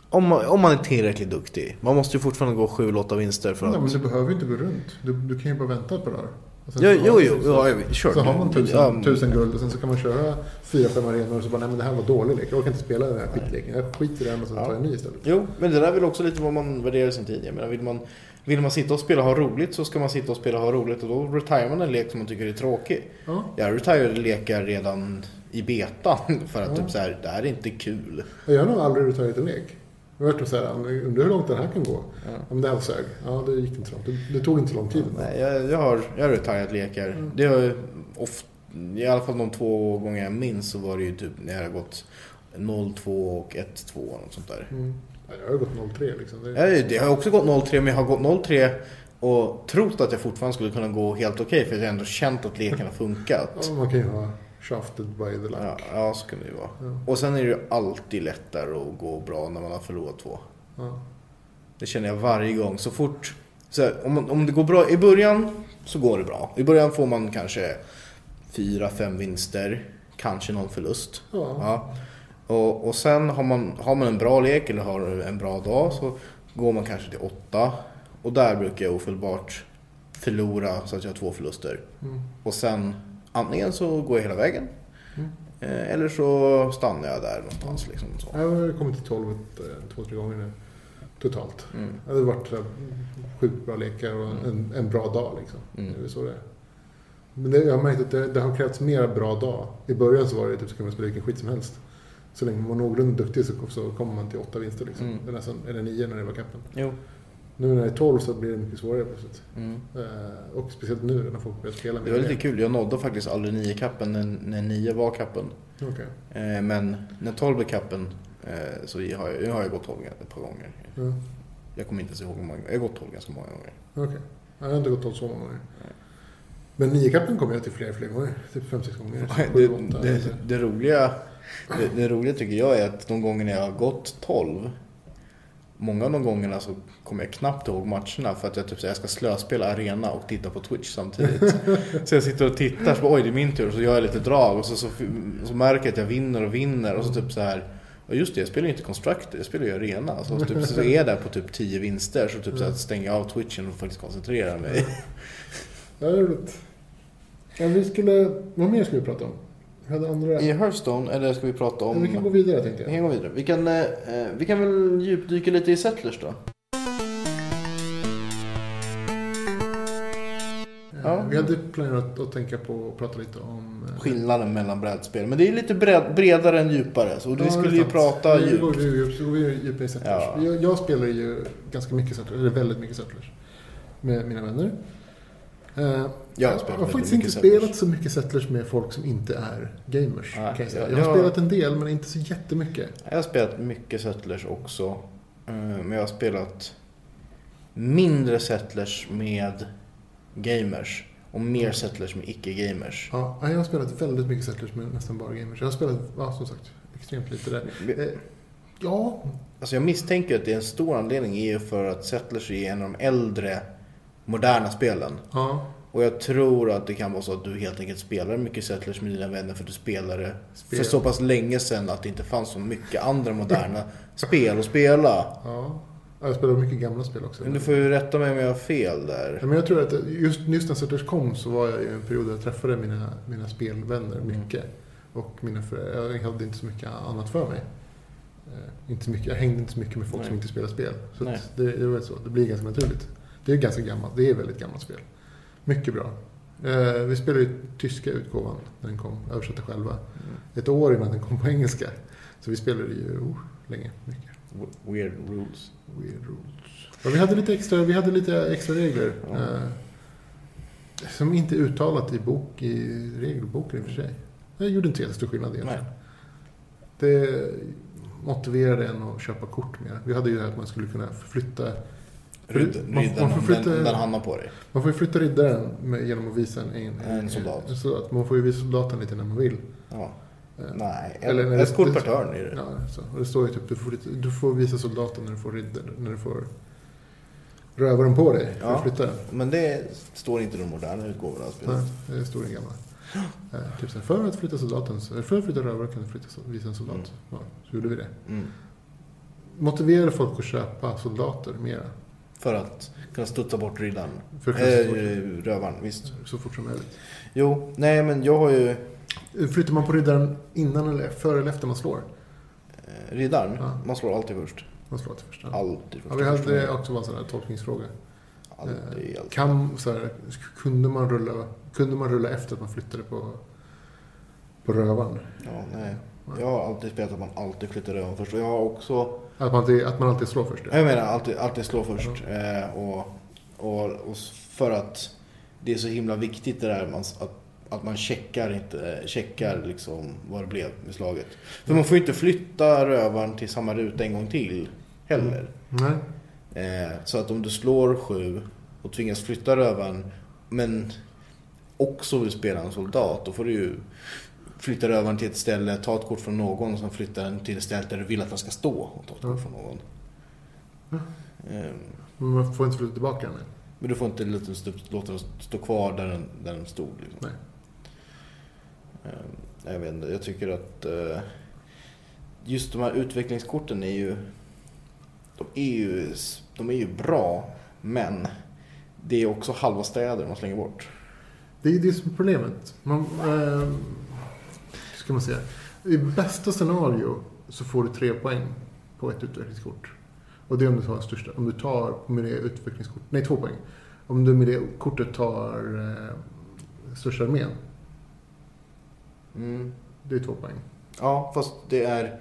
Speaker 1: Om man, om man är tillräckligt duktig. Man måste ju fortfarande gå 7-8 vinster för
Speaker 2: Nej,
Speaker 1: att...
Speaker 2: men du behöver ju inte gå runt. Du, du kan ju bara vänta på det här. Och sen
Speaker 1: Jo,
Speaker 2: så-
Speaker 1: jo, jo. Ja, jag- sure.
Speaker 2: Så har man
Speaker 1: Ja,
Speaker 2: tusen, tusen guld och sen så kan man köra fyra, fem arenor och så bara nej men det här var dålig lek. Jag orkar inte spela den här skitleken. Jag skiter i den och så
Speaker 1: Ja.
Speaker 2: tar jag en ny istället.
Speaker 1: Jo, men det där är väl också lite vad man värderar sin tid. Jag menar, vill man, vill man sitta och spela och ha roligt så ska man sitta och spela och ha roligt och då retirar man en lek som man tycker är tråkig.
Speaker 2: Ja.
Speaker 1: Jag retirade lekar redan i betan för att
Speaker 2: Ja.
Speaker 1: typ så här, det här är inte kul.
Speaker 2: Jag har nog aldrig retirat en lek. Jag har varit så här, undrar hur långt den här kan gå.
Speaker 1: Ja.
Speaker 2: Ja, men det här sög. Ja, det gick inte så långt. Det, det tog inte så lång tid.
Speaker 1: Nej, jag, jag har, jag har retirat lekar.
Speaker 2: Typ. Mm.
Speaker 1: Det har ofta, i alla fall de två gånger jag minns så var det ju typ när jag har gått 0-2 och 1-2 och något sånt där.
Speaker 2: Mm. Ja, jag har ju gått 03 liksom. Det,
Speaker 1: Jag, det har också gått 0-3 men jag har gått 0-3 och trott att jag fortfarande skulle kunna gå helt okej för jag har ändå känt att leken har funkat.
Speaker 2: ja, man kan ju ha shafted by the luck.
Speaker 1: Ja, ja, så kan det ju vara.
Speaker 2: Ja.
Speaker 1: Och sen är det ju alltid lättare att gå bra när man har förlorat två.
Speaker 2: Ja.
Speaker 1: Det känner jag varje gång. Så fort... Så här, om, man- om det går bra i början så går det bra. I början får man kanske fyra, fem vinster. Kanske någon förlust.
Speaker 2: Ja.
Speaker 1: Ja. Och, och sen har man, har man en bra lek eller har en bra dag så går man kanske till åtta. Och där brukar jag ofelbart förlora så att jag har två förluster.
Speaker 2: Mm.
Speaker 1: Och sen antingen så går jag hela vägen.
Speaker 2: Mm.
Speaker 1: eh, Eller så stannar jag där någonstans. Liksom, så.
Speaker 2: Jag har kommit till 12 ett, två, tre gånger nu. Totalt.
Speaker 1: Mm.
Speaker 2: Det hade varit så här sjukt bra lekar och en, en bra dag liksom.
Speaker 1: Mm.
Speaker 2: Det är väl så det är. Men det, jag har märkt att det, det har krävts mer bra dag. I början så var det typ så kan man spela vilken skit som helst. Så länge man var någorlunda duktig så, så kommer man till åtta vinster liksom.
Speaker 1: Mm.
Speaker 2: Eller, nästan, eller nio när det var kappen.
Speaker 1: Jo.
Speaker 2: Nu när det är 12 så blir det mycket svårare plötsligt.
Speaker 1: Mm.
Speaker 2: Eh, och speciellt nu när folk börjar spela
Speaker 1: Det var lite kul, jag nådde faktiskt aldrig 9-kappen när, när 9 var kappen.
Speaker 2: Okej.
Speaker 1: Eh, men när 12 är kappen eh, så har jag, nu har jag gått 12 ett par gånger.
Speaker 2: Ja.
Speaker 1: Jag kommer inte ens ihåg hur många gånger, jag har gått 12 ganska många gånger.
Speaker 2: Okej. Jag har inte gått 12 så många gånger. Men niokappen kom jag till fler och fler gånger. Typ fem sex gånger.
Speaker 1: Det,
Speaker 2: Sju, åtta.
Speaker 1: det, det, roliga, det, det roliga tycker jag är att de gångerna jag har gått 12 Många av de gångerna så kommer jag knappt ihåg matcherna för att jag typ säger jag ska slöspela arena och titta på Twitch samtidigt. så jag sitter och tittar så bara, oj det är min tur och så gör jag lite drag och så, så, så märker jag att jag vinner och vinner och så typ så här Ja just det, jag spelar ju inte Constructor, jag spelar ju Arena. Så, typ, så är jag där på typ 10 vinster så typ så här,
Speaker 2: Mm.
Speaker 1: stänger jag av Twitchen och faktiskt koncentrerar mig.
Speaker 2: Ja, det är roligt. Ja, vi skulle, vad mer skulle vi prata om? Vi hade andra...
Speaker 1: I Hearthstone, eller ska vi prata om...
Speaker 2: Ja, Vi kan gå vidare
Speaker 1: Vi
Speaker 2: tänkte jag.
Speaker 1: kan gå vidare. Vi kan, eh, eh, vi kan väl djupdyka lite i Settlers då? Ja.
Speaker 2: Eh, Vi hade planerat att tänka på och prata lite om... eh,
Speaker 1: Skillnaden mellan brädspel. Men det är ju lite bred, bredare än djupare. Så
Speaker 2: ja,
Speaker 1: vi
Speaker 2: det är
Speaker 1: skulle ju
Speaker 2: sant.
Speaker 1: prata
Speaker 2: Nu går
Speaker 1: djupt.
Speaker 2: vi djupt. Så går vi djupare i Settlers.
Speaker 1: Ja.
Speaker 2: Jag, jag spelar ju ganska mycket Settlers, eller väldigt mycket Settlers. Med mina vänner. Eh,
Speaker 1: Jag har
Speaker 2: jag
Speaker 1: spelat
Speaker 2: har
Speaker 1: väldigt
Speaker 2: faktiskt inte
Speaker 1: mycket
Speaker 2: spelat
Speaker 1: Settlers.
Speaker 2: så mycket Settlers med folk som inte är gamers.
Speaker 1: Nej,
Speaker 2: kan jag, säga.
Speaker 1: jag-
Speaker 2: jag har
Speaker 1: jag-
Speaker 2: spelat en del, men inte så jättemycket.
Speaker 1: Jag har spelat mycket Settlers också. Eh, Men jag har spelat mindre settlers med gamers och mer settlers med icke-gamers.
Speaker 2: Ja, nej, jag har spelat väldigt mycket Settlers med nästan bara gamers. Jag har spelat, ja, som sagt, extremt lite där. Eh, ja,
Speaker 1: Alltså jag misstänker att det är en stor anledning är ju för att Settlers är en av de äldre moderna spelen.
Speaker 2: ja.
Speaker 1: Och jag tror att det kan vara så att du helt enkelt spelar mycket Settlers med dina vänner för att du spelade
Speaker 2: Spel.
Speaker 1: för så pass länge sedan att det inte fanns så mycket andra moderna spel att spela.
Speaker 2: ja. Ja, Jag spelar mycket gamla spel också.
Speaker 1: Men du får ju rätta mig om jag har fel
Speaker 2: Ja,
Speaker 1: där.
Speaker 2: men jag tror att just, just när Settlers kom så var jag i en period där jag träffade mina, mina
Speaker 1: Mm.
Speaker 2: spelvänner mycket. Och mina föräldrar, jag hade inte så mycket annat för mig. Eh, inte så mycket, jag hängde inte så mycket med folk
Speaker 1: Nej.
Speaker 2: som inte spelar spel. Så
Speaker 1: Nej.
Speaker 2: att det, det var så. Det blir ganska naturligt. Det är ganska gammalt. Det är väldigt gammalt spel. Mycket bra. Eh, vi spelade ju tyska utgåvan när den kom. Översatte själva. Ett år innan den kom på engelska. Så vi spelade ju oh, länge. Mycket.
Speaker 1: W- Weird rules.
Speaker 2: Mm. Weird rules. Ja, vi, hade lite extra, vi hade lite extra regler.
Speaker 1: Ja.
Speaker 2: Eh, som inte är uttalat i, bok, i regelboken i och för sig. Det gjorde inte jättestor skillnad egentligen. Det motiverade en att köpa kort mer. Vi hade ju det här att man skulle kunna förflytta...
Speaker 1: Rydden,
Speaker 2: Man- man
Speaker 1: rydden om
Speaker 2: förflyttar-
Speaker 1: den, den hamnar på dig.
Speaker 2: Man får ju flytta riddaren med, genom att visa en, en,
Speaker 1: En soldat.
Speaker 2: en soldat. Man får ju visa soldaten lite när man vill.
Speaker 1: Ja.
Speaker 2: Eh,
Speaker 1: Nej,
Speaker 2: Eller när
Speaker 1: ett,
Speaker 2: det-
Speaker 1: ett kort
Speaker 2: det-
Speaker 1: per turn är det.
Speaker 2: Ja, så. Och det står ju typ du får, flytta- du får visa soldaten när du får riddaren, när du får rövaren på dig för
Speaker 1: Ja.
Speaker 2: att flytta den.
Speaker 1: Men det står inte i de moderna utgåvorna av spelet.
Speaker 2: Nej, det står den gamla. Eh, typ så här, för att flytta soldaten, så- för att flytta rövare kan du flytta, sol- visa en soldat.
Speaker 1: Mm.
Speaker 2: Ja, så gjorde vi det.
Speaker 1: Mm.
Speaker 2: Motiverade folk att köpa soldater mera.
Speaker 1: För att kunna studsa bort riddaren.
Speaker 2: För att kunna
Speaker 1: Eh,
Speaker 2: så, fort,
Speaker 1: rövaren, visst.
Speaker 2: så fort som möjligt.
Speaker 1: Jo, nej men jag har ju
Speaker 2: Eh, Flyttar man på riddaren innan eller före eller efter man slår?
Speaker 1: eh, riddaren.
Speaker 2: Ja.
Speaker 1: Man slår alltid först.
Speaker 2: Man slår till först. Ja.
Speaker 1: Alltid först.
Speaker 2: Ja, vi hade eh, det
Speaker 1: Först.
Speaker 2: också var en sån här tolkningsfråga.
Speaker 1: Alltid, alltid.
Speaker 2: Kan, så här, kunde, man rulla, kunde man rulla efter att man flyttade på, på rövaren?
Speaker 1: Ja, nej. Jag har alltid spelat att man alltid flyttar rövaren först. Och jag har också...
Speaker 2: Att man alltid, att man alltid slår först? ja.
Speaker 1: Jag menar alltid, alltid slå först. Eh, och, och, och för att det är så himla viktigt det där man, att, att man checkar, inte, checkar liksom vad det blev med slaget. För man får ju inte flytta rövaren till samma ruta en gång till heller.
Speaker 2: Nej.
Speaker 1: Eh, Så att om du slår sju och tvingas flytta rövaren men också vill spela en soldat, då får du ju flytta rövaren till ett ställe, ta ett kort från någon och sen flytta den till ett ställe där du vill att den ska stå och ta ett
Speaker 2: Mm.
Speaker 1: kort från någon.
Speaker 2: Mm.
Speaker 1: Eh,
Speaker 2: Men man får inte flytta tillbaka den än.
Speaker 1: Men du får inte låta den stå, låta den stå kvar där den, där den stod. Liksom.
Speaker 2: Nej.
Speaker 1: Eh, Jag vet inte, jag tycker att eh, just de här utvecklingskorten är ju de är ju, de är ju bra, men det är också halva städer man slänger bort.
Speaker 2: Det är det som är problemet. Man, eh, hur ska man säga? I bästa scenario så får du tre poäng på ett utvecklingskort. Och det är om du tar den största. Om du tar med det utvecklingskort, nej två poäng. Om du med det kortet tar eh, största armén,
Speaker 1: Mm.
Speaker 2: det är två poäng.
Speaker 1: Ja, fast det är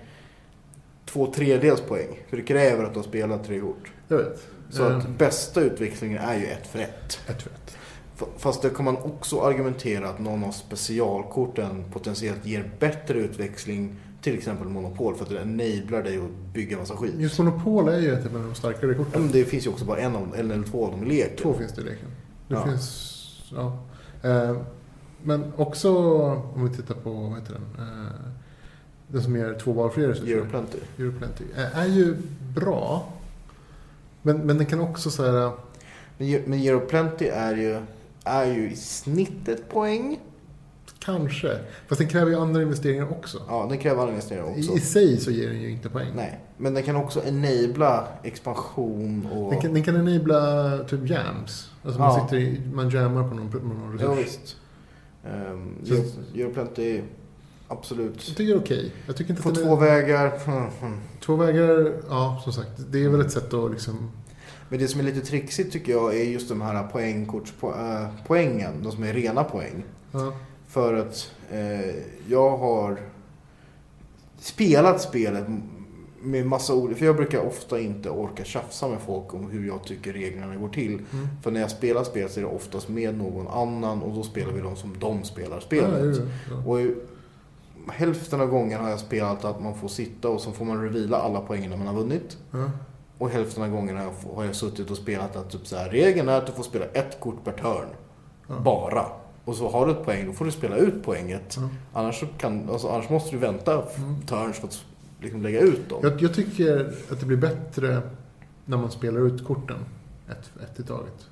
Speaker 1: två tredjedels poäng. För det kräver att du har spelat tre kort.
Speaker 2: Jag vet. Ehm,
Speaker 1: Så
Speaker 2: Mm.
Speaker 1: att bästa utvecklingen är ju ett för ett.
Speaker 2: Ett för ett.
Speaker 1: F- Fast det kan man också argumentera att någon av specialkorten potentiellt ger bättre utväxling. Till exempel Monopol för att det enablar dig att bygga massa skit.
Speaker 2: Just Monopol är ju ett av de starkare
Speaker 1: Ja,
Speaker 2: korten.
Speaker 1: men det finns ju också bara en av, en eller två av dem i leken.
Speaker 2: Två finns det i leken. Det
Speaker 1: Ja.
Speaker 2: finns, ja. Eh, Men också om vi tittar på, vad heter den? Eh, Den som ger två valfria resurser.
Speaker 1: Euro Plenty.
Speaker 2: Europlenty. Eh, Är ju bra. Men, men den kan också så här...
Speaker 1: Men, Ge- men Euro Plenty är ju, är ju i snitt ett poäng.
Speaker 2: Kanske. Fast den kräver ju andra investeringar också.
Speaker 1: Ja, den kräver anläggningsnivå
Speaker 2: I, I
Speaker 1: också.
Speaker 2: sig så ger den ju inte poäng.
Speaker 1: Nej, men den kan också enabla expansion och...
Speaker 2: Den kan, den kan enabla typ jams. Alltså man,
Speaker 1: Ja.
Speaker 2: sitter i, man jammar på någon, på någon
Speaker 1: Ja,
Speaker 2: resurs.
Speaker 1: visst. Um,
Speaker 2: Så-
Speaker 1: Euro Plenty,
Speaker 2: jag
Speaker 1: absolut.
Speaker 2: tycker det är okej. Jag tycker inte
Speaker 1: Få
Speaker 2: att den
Speaker 1: två
Speaker 2: är,
Speaker 1: vägar. Mm, mm.
Speaker 2: två vägar. Ja, som sagt. Det är väl ett sätt att liksom...
Speaker 1: Men det som är lite trixigt tycker jag är just de här poängkortspoängen. De som är rena poäng.
Speaker 2: Ja.
Speaker 1: För att eh, jag har spelat spelet med massa olika... För jag brukar ofta inte orka tjafsa med folk om hur jag tycker reglerna går till.
Speaker 2: Mm.
Speaker 1: För när jag spelar spel så är det oftast med någon annan och då spelar vi de som de spelar
Speaker 2: Ja,
Speaker 1: spelet.
Speaker 2: jo, jo.
Speaker 1: Och i- hälften av gången har jag spelat att man får sitta och så får man revila alla poängen när man har vunnit.
Speaker 2: Ja.
Speaker 1: Och hälften av gångerna har jag suttit och spelat att typ så här, regeln är att du får spela ett kort per turn.
Speaker 2: Ja.
Speaker 1: Bara. Och så har du ett poäng, då får du spela ut poänget.
Speaker 2: Ja.
Speaker 1: Annars, så kan, alltså, annars måste du vänta f-
Speaker 2: Mm.
Speaker 1: turns för att liksom lägga ut dem.
Speaker 2: Jag, jag tycker att det blir bättre när man spelar ut korten ett, ett i taget.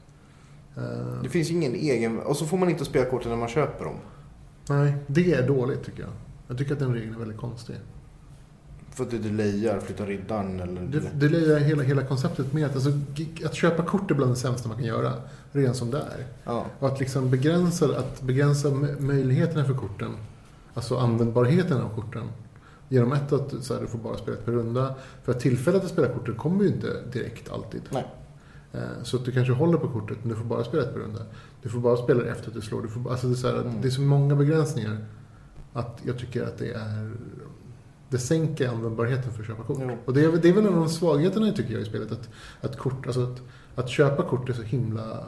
Speaker 2: Eh,
Speaker 1: Det finns ju ingen egen... Och så får man inte spela korten när man köper dem.
Speaker 2: nej, det är dåligt tycker jag. Jag tycker att den regeln är väldigt konstig.
Speaker 1: För att det delayar, flyttar riddaren eller...
Speaker 2: Det, det lirar hela, hela konceptet med att, alltså, g- att köpa kort är bland det sämsta man kan göra, redan som det är.
Speaker 1: Ja.
Speaker 2: Och att, liksom begränsa, att begränsa m- möjligheterna för korten, alltså användbarheten av korten. Genom ett att så här, du får bara spela ett per runda. För att tillfället att spela kortet kommer ju inte direkt alltid.
Speaker 1: Nej.
Speaker 2: Eh, Så att du kanske håller på kortet, men du får bara spela ett per runda. Du får bara spela det efter att du slår. Du får, alltså det, är så här, att
Speaker 1: Mm.
Speaker 2: det är så många begränsningar att jag tycker att det är... Det sänker användbarheten för att köpa kort.
Speaker 1: Jo.
Speaker 2: Och det är, det är väl en av de svagheterna tycker jag i spelet. Att, att, kort, alltså att, att köpa kort är så himla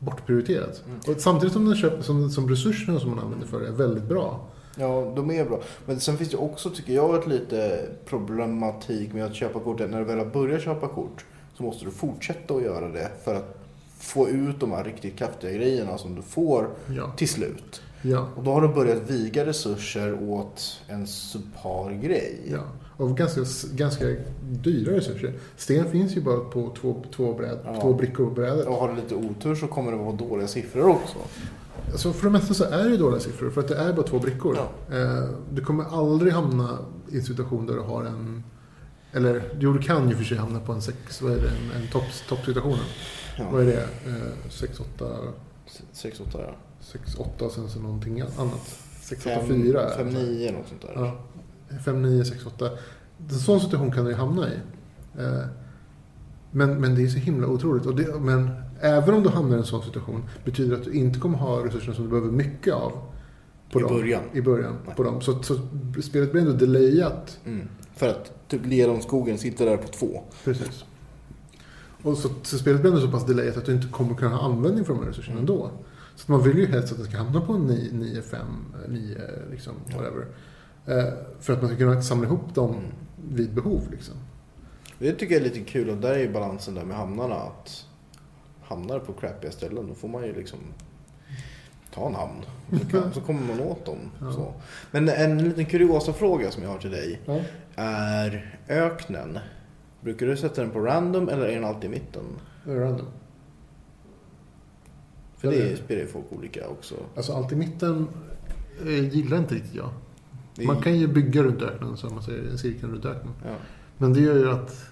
Speaker 2: bortprioriterat.
Speaker 1: Mm.
Speaker 2: Och samtidigt som, den köper, som, som resurserna som man använder för det är väldigt bra.
Speaker 1: Ja, de är bra. Men sen finns det också, tycker jag, ett lite problematik med att köpa kort. När du väl har börjat köpa kort så måste du fortsätta att göra det för att få ut de här riktigt kraftiga grejerna som du får
Speaker 2: Ja.
Speaker 1: till slut.
Speaker 2: ja.
Speaker 1: Och då har du börjat viga resurser åt en subpar grej.
Speaker 2: Ja, av ganska, ganska dyra resurser. Sten finns ju bara på två, två, bräd,
Speaker 1: Ja.
Speaker 2: två brickor på brädet.
Speaker 1: Och har du lite otur så kommer det vara dåliga siffror också.
Speaker 2: Alltså för det mesta så är det ju dåliga siffror för att det är bara två brickor. Eh, Du kommer aldrig hamna i en situation där du har en... Eller jo, du kan ju för sig hamna på en sex... Vad är det? En, en topps- toppsituation. Vad
Speaker 1: Ja.
Speaker 2: är det? Eh, Sex, åtta...
Speaker 1: sex åtta ja.
Speaker 2: Sex, åtta och sen så någonting annat. Sex, åtta,
Speaker 1: Fem-
Speaker 2: fyra.
Speaker 1: fem nio något sånt där.
Speaker 2: Ja. 5, 9, 6, 8. En sån situation kan du ju hamna i. Eh, Men, men det är så himla otroligt. Och det, men även om du hamnar i en sån situation betyder det att du inte kommer ha resurserna som du behöver mycket av.
Speaker 1: I
Speaker 2: dem,
Speaker 1: början.
Speaker 2: I början
Speaker 1: Nej.
Speaker 2: på dem. Så, så spelet blir ändå delayat.
Speaker 1: Mm. För att typ Leromskogen sitter där på två.
Speaker 2: Precis. Och så, så spelet blir ändå så pass delayat att du inte kommer kunna ha användning för de här resurserna
Speaker 1: Mm.
Speaker 2: ändå. Så att man vill ju helst att den ska hamna på 9, 9 5, 9 liksom,
Speaker 1: Ja.
Speaker 2: whatever. Eh, För att man ska kunna samla ihop dem
Speaker 1: Mm.
Speaker 2: vid behov. Liksom.
Speaker 1: Det tycker jag är lite kul och där är ju balansen där med hamnarna. Att hamnar på crappiga ställen då får man ju liksom ta en hamn. Så kan- Så kommer man åt dem.
Speaker 2: Ja.
Speaker 1: Så. Men en liten kuriosa fråga som jag har till dig
Speaker 2: Ja.
Speaker 1: är öknen. Brukar du sätta den på random eller är den alltid i mitten?
Speaker 2: Random.
Speaker 1: För
Speaker 2: Ja, det är-
Speaker 1: det spelar ju folk olika också.
Speaker 2: Alltså allt i mitten eh, gillar inte riktigt jag.
Speaker 1: Det är-
Speaker 2: Man kan ju bygga runt öknen, så man säger, en cirkel runt öknen.
Speaker 1: Ja.
Speaker 2: Men det gör ju att,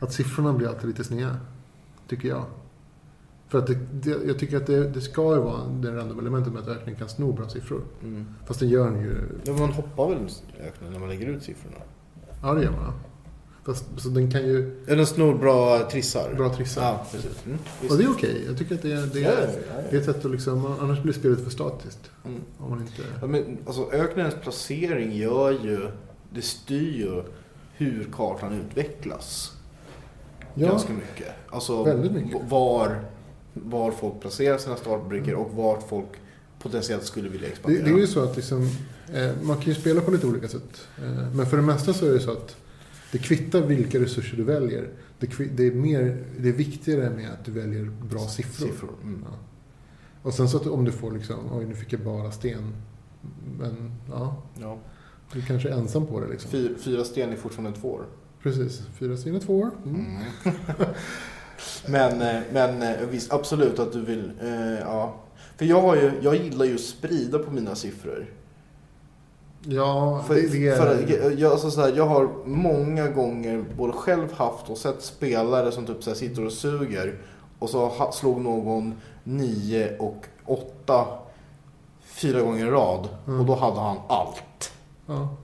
Speaker 2: att siffrorna blir alltid lite sneda, tycker jag. För att det, det, jag tycker att det, det ska ju vara det random elementet med att öknen kan sno bra siffror.
Speaker 1: Mm.
Speaker 2: Fast det gör den ju...
Speaker 1: Ja, men man hoppar väl öknen när man lägger ut siffrorna?
Speaker 2: Ja, det gör man. ja. Fast, så den kan ju...
Speaker 1: Ja, den snor bra trissar.
Speaker 2: Bra trissar.
Speaker 1: Ja, precis. Mm, visst.
Speaker 2: Och det är okej. Jag tycker att det, är- det,
Speaker 1: Ja,
Speaker 2: är,
Speaker 1: ja, ja.
Speaker 2: det är ett sätt att liksom... Annars blir spelet för statiskt.
Speaker 1: Mm.
Speaker 2: Om man inte...
Speaker 1: Ja, men, alltså, öknens placering gör ju, det styr ju hur kartan utvecklas
Speaker 2: Ja,
Speaker 1: ganska mycket. Alltså
Speaker 2: Väldigt mycket.
Speaker 1: v- Var, var folk placerar sina startbrickor och vart folk potentiellt skulle vilja
Speaker 2: Det,
Speaker 1: expandera.
Speaker 2: det är ju så att liksom, eh, man kan ju spela på lite olika sätt. Eh, men för det mesta så är det så att det kvittar vilka resurser du väljer. Det, kvi- det, är, mer, det är viktigare med att du väljer bra siffror.
Speaker 1: Mm.
Speaker 2: Ja. Och sen så att om du får liksom, oj nu fick jag bara sten. Men ja,
Speaker 1: Ja.
Speaker 2: du kanske är ensam på det liksom.
Speaker 1: Fyra, fyra sten är fortfarande två år.
Speaker 2: Precis, fyra sten är två år. Mm.
Speaker 1: men, eh, men eh, visst, absolut att du vill, eh, ja. För jag, har ju, jag gillar ju att sprida på mina siffror.
Speaker 2: Ja,
Speaker 1: För,
Speaker 2: det, det är...
Speaker 1: för, jag, alltså så här, jag har många gånger både själv haft och sett spelare som typ så här sitter och suger och så ha, slog någon 9 och 8 fyra gånger i rad
Speaker 2: Mm.
Speaker 1: och då hade han allt.
Speaker 2: ja.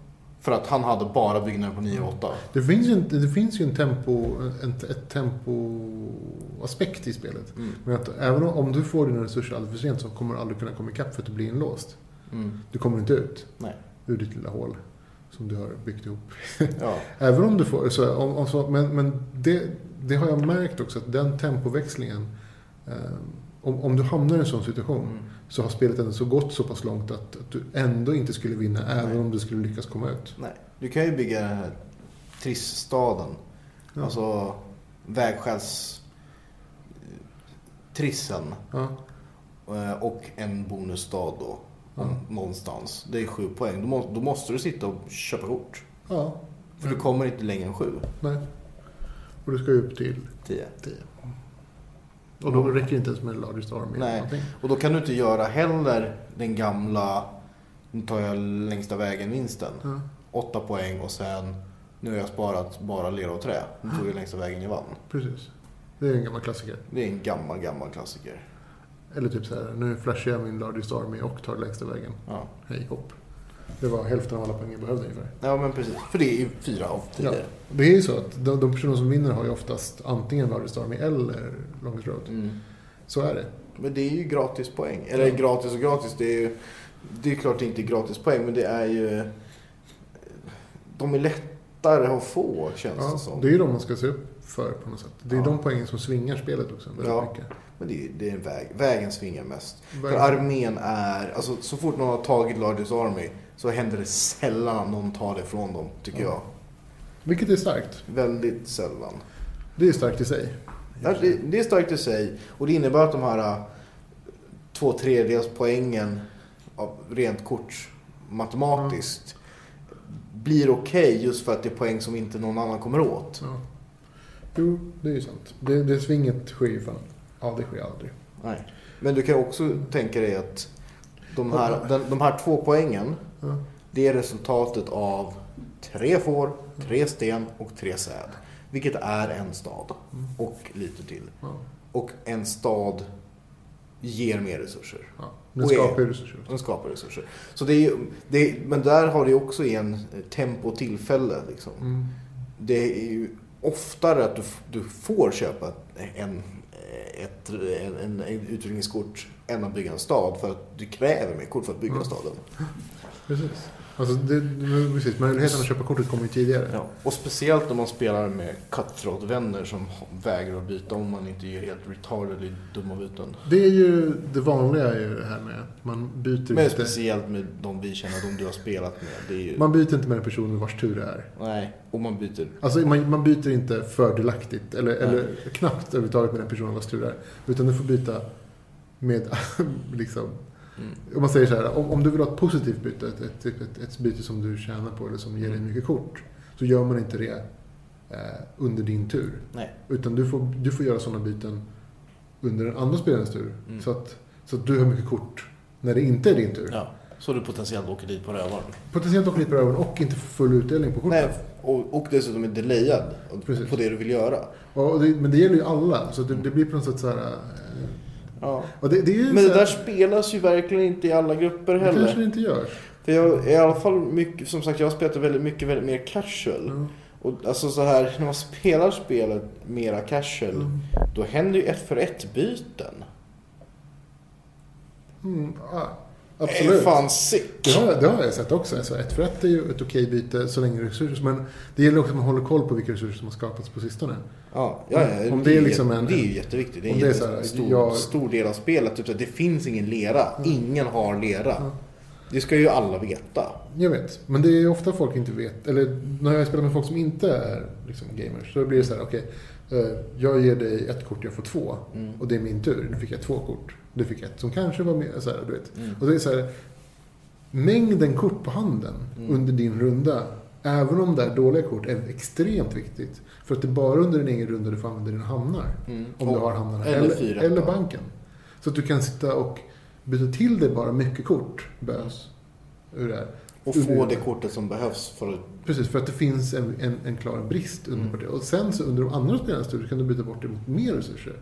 Speaker 1: För att han hade bara byggnader på 9 och 8.
Speaker 2: det, finns ju en, det finns ju en tempo, en, ett tempoaspekt i spelet.
Speaker 1: Mm.
Speaker 2: Men att även om- om du får dina resurser alldeles för sent så kommer du aldrig kunna komma ikapp för att du blir inlåst.
Speaker 1: Mm.
Speaker 2: Du kommer inte ut
Speaker 1: Nej.
Speaker 2: ur ditt lilla hål som du har byggt ihop.
Speaker 1: Ja.
Speaker 2: Även om du får... Så, om, om, så, men men det, det har jag märkt också att den tempoväxlingen... Eh, om, om du hamnar i en sån situation
Speaker 1: Mm.
Speaker 2: så har spelet ändå så gått så pass långt att, att du ändå inte skulle vinna
Speaker 1: Nej.
Speaker 2: även om du skulle lyckas komma ut.
Speaker 1: Nej. Du kan ju bygga den här trissstaden
Speaker 2: Ja.
Speaker 1: Alltså vägskälstrissen. trissen
Speaker 2: Ja.
Speaker 1: Eh, Och en bonusdag då. mm.
Speaker 2: Ja.
Speaker 1: Någonstans. Det är sju poäng. Då, må, då måste du sitta och köpa kort.
Speaker 2: ja.
Speaker 1: För du kommer inte längre än sju.
Speaker 2: Nej. Och du ska ju upp till
Speaker 1: Tio.
Speaker 2: 10. Och då räcker det inte ens med Largest Army. eller
Speaker 1: Nej.
Speaker 2: någonting.
Speaker 1: Och då kan du inte göra heller den gamla nu tar jag längsta vägen-vinsten.
Speaker 2: Ja.
Speaker 1: Åtta poäng och sen nu har jag sparat bara lera och trä. Nu
Speaker 2: Mm.
Speaker 1: tog jag längsta vägen jag vann.
Speaker 2: Precis. Det är en gammal klassiker.
Speaker 1: Det är en gammal, gammal klassiker.
Speaker 2: Eller typ så här, nu flashar jag min Largest Army och tar längsta vägen.
Speaker 1: Ja.
Speaker 2: Hej hopp. Det var hälften av alla poäng jag behövde ungefär.
Speaker 1: ja, men precis. För det är ju fyra av
Speaker 2: Ja,
Speaker 1: tio.
Speaker 2: det är ju så att de, de personer som vinner har ju oftast antingen Largest Army eller Longest Road.
Speaker 1: Mm.
Speaker 2: Så är det.
Speaker 1: Men det är ju gratis poäng. Eller
Speaker 2: Ja.
Speaker 1: gratis och gratis. Det är ju det är klart det inte är gratis poäng, men det är ju... De är lättare att få, känns det
Speaker 2: Ja,
Speaker 1: som.
Speaker 2: det är ju de man ska se upp för på något sätt. Det är
Speaker 1: Ja.
Speaker 2: de poängen som svingar spelet också väldigt
Speaker 1: Ja.
Speaker 2: mycket.
Speaker 1: Men det är, det är en väg. Vägen svingar mest. För
Speaker 2: Verkligen.
Speaker 1: armén är... Alltså, så fort någon har tagit Largest Army så händer det sällan att någon tar det från dem, tycker
Speaker 2: Ja.
Speaker 1: jag.
Speaker 2: Vilket är starkt.
Speaker 1: Väldigt sällan.
Speaker 2: Det är starkt i sig.
Speaker 1: Ja, det, det är starkt i sig och det innebär att de här äh, två tredjedels poängen av rent kort matematiskt blir okej just för att det är poäng som inte någon annan kommer åt.
Speaker 2: Ja. Jo, det är ju sant. Det, det svinget sker ju fan. Ja, det sker aldrig.
Speaker 1: Nej. Men du kan också tänka dig att de här, den, de här två poängen
Speaker 2: Ja.
Speaker 1: det är resultatet av tre får, tre sten och tre säd. Vilket är en stad och lite till.
Speaker 2: Ja.
Speaker 1: Och en stad ger mer resurser.
Speaker 2: Ja. Den
Speaker 1: Och är-
Speaker 2: skapar ju resurser.
Speaker 1: De skapar resurser. Så det är, ju- det är, men där har det ju också igen eh, tempo och tillfälle. Liksom.
Speaker 2: Mm.
Speaker 1: Det är ju oftare att du, f- du får köpa en, eh, ett, en, en, en utrymningskort än att bygga en stad. För att du kräver mer kort för att bygga
Speaker 2: Mm.
Speaker 1: staden.
Speaker 2: Precis. Alltså, det, det- precis. Möjligheten att köpa kortet kommer ju tidigare.
Speaker 1: Ja. Och speciellt när man spelar med cutthroat-vänner som vägrar att byta om man inte är helt retarded i dumma byten.
Speaker 2: Det är ju det vanliga är ju det här med att man byter
Speaker 1: Men
Speaker 2: inte.
Speaker 1: speciellt med de vi känner, de du har spelat med. Det är ju,
Speaker 2: Man byter inte med den personen vars tur det är.
Speaker 1: Nej, och man byter.
Speaker 2: Alltså man, man byter inte fördelaktigt eller,
Speaker 1: Nej.
Speaker 2: eller knappt överhuvudtaget med den personen vars tur det är. Utan du får byta med, liksom,
Speaker 1: Mm.
Speaker 2: om man säger så här, om, om du vill ha ett positivt byte, ett, ett, typ ett, ett byte som du tjänar på eller som ger dig
Speaker 1: Mm.
Speaker 2: mycket kort, så gör man inte det eh, under din tur.
Speaker 1: Nej.
Speaker 2: Utan du får, du får göra sådana byten under den andra spelarens tur.
Speaker 1: Mm.
Speaker 2: Så, att, så att du har mycket kort när det inte är din tur.
Speaker 1: Ja. Så du potentiellt åker dit på rövaren.
Speaker 2: Potentiellt och klipper över och inte får full utdelning på korten.
Speaker 1: Nej, och, och dessutom är delayad
Speaker 2: Precis.
Speaker 1: på det du vill göra.
Speaker 2: Och det, men det gäller ju alla, så det, det blir på något sätt så här... eh,
Speaker 1: Ja.
Speaker 2: Och det, det är ju
Speaker 1: Mm. Men
Speaker 2: så
Speaker 1: det
Speaker 2: här,
Speaker 1: där spelas ju verkligen inte i alla grupper
Speaker 2: det kanske
Speaker 1: heller.
Speaker 2: det inte gör.
Speaker 1: För jag, i alla fall mycket, som sagt, jag spelar väldigt mycket väldigt mer casual.
Speaker 2: Ja.
Speaker 1: Och alltså så här, när man spelar spelet mera casual,
Speaker 2: Mm.
Speaker 1: då händer ju ett för ett byten.
Speaker 2: Mm, ja,
Speaker 1: Det är
Speaker 2: absolut.
Speaker 1: Eh, fan sick!
Speaker 2: Det har, jag- det har jag sett också. Alltså, ett för ett är ju ett okej byte så länge resurser... Men det gäller också att man håller koll på vilka resurser som har skapats på sistone.
Speaker 1: Ja, ja, ja,
Speaker 2: Om det är liksom en-
Speaker 1: det är ju jätteviktigt. Det är en
Speaker 2: om det är så här,
Speaker 1: jättestor, stor,
Speaker 2: jag-
Speaker 1: stor del av spelet. Typ så här, det finns ingen lera.
Speaker 2: Mm.
Speaker 1: Ingen har lera.
Speaker 2: Mm.
Speaker 1: Det ska ju alla veta.
Speaker 2: Jag vet, men det är ju ofta folk inte vet. Eller när jag spelar med folk som inte är liksom, gamers så blir det så här, okej. eh, jag ger dig ett kort, jag får två.
Speaker 1: Mm.
Speaker 2: Och det är min tur. Nu fick jag två kort. Du fick ett som kanske var mer... Så här, du vet.
Speaker 1: Mm.
Speaker 2: Och det är så här, mängden kort på handen
Speaker 1: Mm.
Speaker 2: under din runda, även om det är dåliga kort, är extremt viktigt. För att det är bara under din egen runda du får använda dina hamnar.
Speaker 1: Mm.
Speaker 2: Om
Speaker 1: Och-
Speaker 2: du har hamnarna.
Speaker 1: eller
Speaker 2: Eller,
Speaker 1: fyra.
Speaker 2: eller, banken. Så att du kan sitta och byta till dig bara mycket kort, bös. Ur det här.
Speaker 1: Och
Speaker 2: ur
Speaker 1: få
Speaker 2: runda.
Speaker 1: det kortet som behövs för att...
Speaker 2: Precis, för att det finns en, en, en klar brist under
Speaker 1: Mm.
Speaker 2: partiet. Och sen så under de andra spelarnas tur kan du byta bort det mot mer resurser.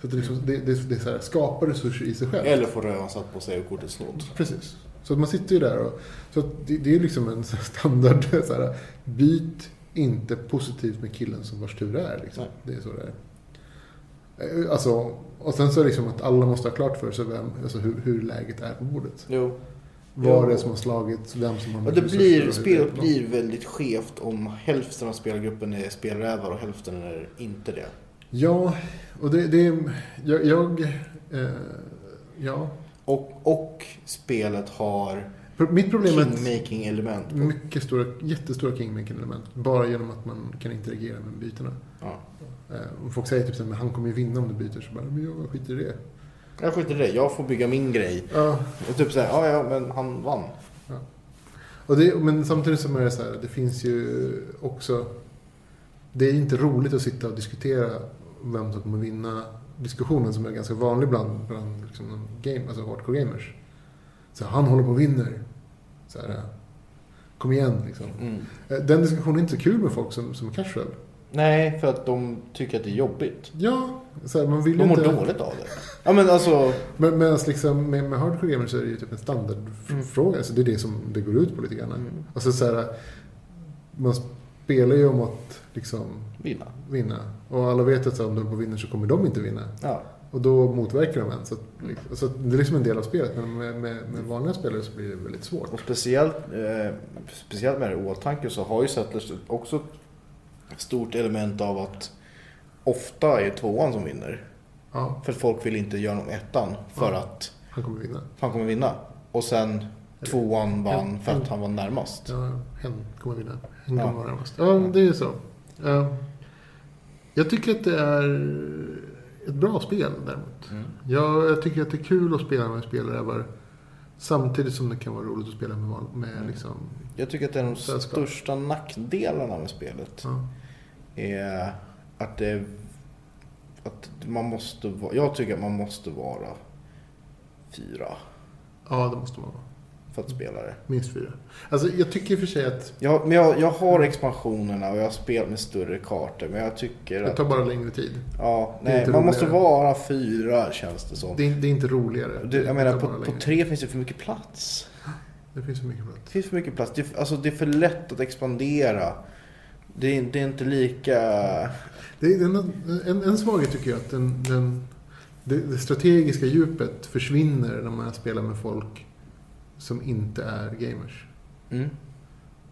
Speaker 2: Så att det, liksom, det, det, det är så här, skapar resurser i sig själv.
Speaker 1: Eller få rövan satt på sig och kortet snott.
Speaker 2: Precis. Så att man sitter ju där och... Så att det, det är liksom en så här standard så här, Byt inte positivt med killen som vars tur det är. Liksom.
Speaker 1: Nej.
Speaker 2: Det är så det är. Eh, Alltså, och sen så är det liksom att alla måste ha klart för sig vem, alltså hur, hur läget är på bordet.
Speaker 1: Jo.
Speaker 2: Vad
Speaker 1: Jo.
Speaker 2: det är som har slagit, vem som har
Speaker 1: Ja, det
Speaker 2: mest resurser och hur
Speaker 1: blir,
Speaker 2: det är
Speaker 1: spelet
Speaker 2: på
Speaker 1: blir väldigt skevt om hälften av spelgruppen är spelrävar och hälften är inte det.
Speaker 2: Ja, och det, det är... Jag... jag eh, ja.
Speaker 1: Och, och spelet har
Speaker 2: Pro- Mitt problem är att
Speaker 1: Kingmaking-element. på-
Speaker 2: mycket stora, jättestora kingmaking-element. Bara genom att man kan interagera med bytena.
Speaker 1: Ja.
Speaker 2: Eh, och folk säger typ så här, men han kommer ju vinna om du byter. Så bara, men jag skiter i det.
Speaker 1: Jag skiter i det, jag får bygga min grej.
Speaker 2: Ja,
Speaker 1: Och typ såhär, ja ja men han vann.
Speaker 2: och det, men samtidigt som är det så här, det finns ju också... Det är ju inte roligt att sitta och diskutera vem som kommer vinna diskussionen som är ganska vanlig bland, bland liksom game, alltså hardcore gamers. Så här, han håller på och vinner. Så här, eh, kom igen liksom.
Speaker 1: Mm.
Speaker 2: Eh, Den diskussionen är inte så kul med folk som, som är casual.
Speaker 1: Nej, för att de tycker att det är jobbigt.
Speaker 2: Ja, så här, man vill ju
Speaker 1: De mår
Speaker 2: inte...
Speaker 1: dåligt av det. Ja men alltså,
Speaker 2: Men medans liksom, med, med hardcore gamers så är det ju typ en standardfråga. Så det är det som det går ut på lite grann.
Speaker 1: Mm.
Speaker 2: Alltså så här, man spelar ju om att liksom
Speaker 1: vinna.
Speaker 2: vinna. Och alla vet att så här, om de på vinner så kommer de inte vinna.
Speaker 1: Ja.
Speaker 2: Och då motverkar de en. Så, att, liksom, så att det är liksom en del av spelet. Men med, med, med vanliga spelare så blir det väldigt svårt.
Speaker 1: Och speciellt, eh, speciellt med det i åtanke så har ju Settlers också ett stort element av att ofta är tvåan som vinner.
Speaker 2: Ja,
Speaker 1: För att folk vill inte göra om ettan för
Speaker 2: Ja.
Speaker 1: att
Speaker 2: han kommer vinna.
Speaker 1: han kommer vinna. Och sen tvåan vann för att han var närmast.
Speaker 2: Ja, hen kommer vinna. Hen
Speaker 1: Ja.
Speaker 2: kommer vara närmast. Ja, det är ju så. Ja. Jag tycker att det är ett bra spel däremot.
Speaker 1: Mm.
Speaker 2: Jag, jag tycker att det är kul att spela med spelrävar samtidigt som det kan vara roligt att spela med, val- med
Speaker 1: Mm.
Speaker 2: liksom...
Speaker 1: Jag tycker att det är de
Speaker 2: Sällskap.
Speaker 1: största nackdelarna med spelet.
Speaker 2: Ja.
Speaker 1: Är att det... Att man måste vara... Jag tycker att man måste vara fyra
Speaker 2: ja, det måste man vara.
Speaker 1: för att spela det.
Speaker 2: Minst fyra. Alltså, jag tycker i och för sig att
Speaker 1: Jag, men jag, jag har expansionerna och jag har spelat med större kartor. Men jag tycker
Speaker 2: det
Speaker 1: att...
Speaker 2: tar bara längre tid.
Speaker 1: Ja,
Speaker 2: det är
Speaker 1: nej,
Speaker 2: inte
Speaker 1: man måste
Speaker 2: roligare.
Speaker 1: vara fyra känns det som.
Speaker 2: Det är, det är inte roligare.
Speaker 1: Du,
Speaker 2: Det
Speaker 1: jag menar,
Speaker 2: tar
Speaker 1: på,
Speaker 2: bara
Speaker 1: på
Speaker 2: längre.
Speaker 1: tre finns det för mycket plats.
Speaker 2: Det finns så mycket plats.
Speaker 1: Det finns för mycket plats. Det, alltså, det är för lätt att expandera. Det, är- det är inte lika...
Speaker 2: Det är en, en, en svaghet tycker jag att den, den, det, det strategiska djupet försvinner när man spelar med folk som inte är gamers.
Speaker 1: Mm.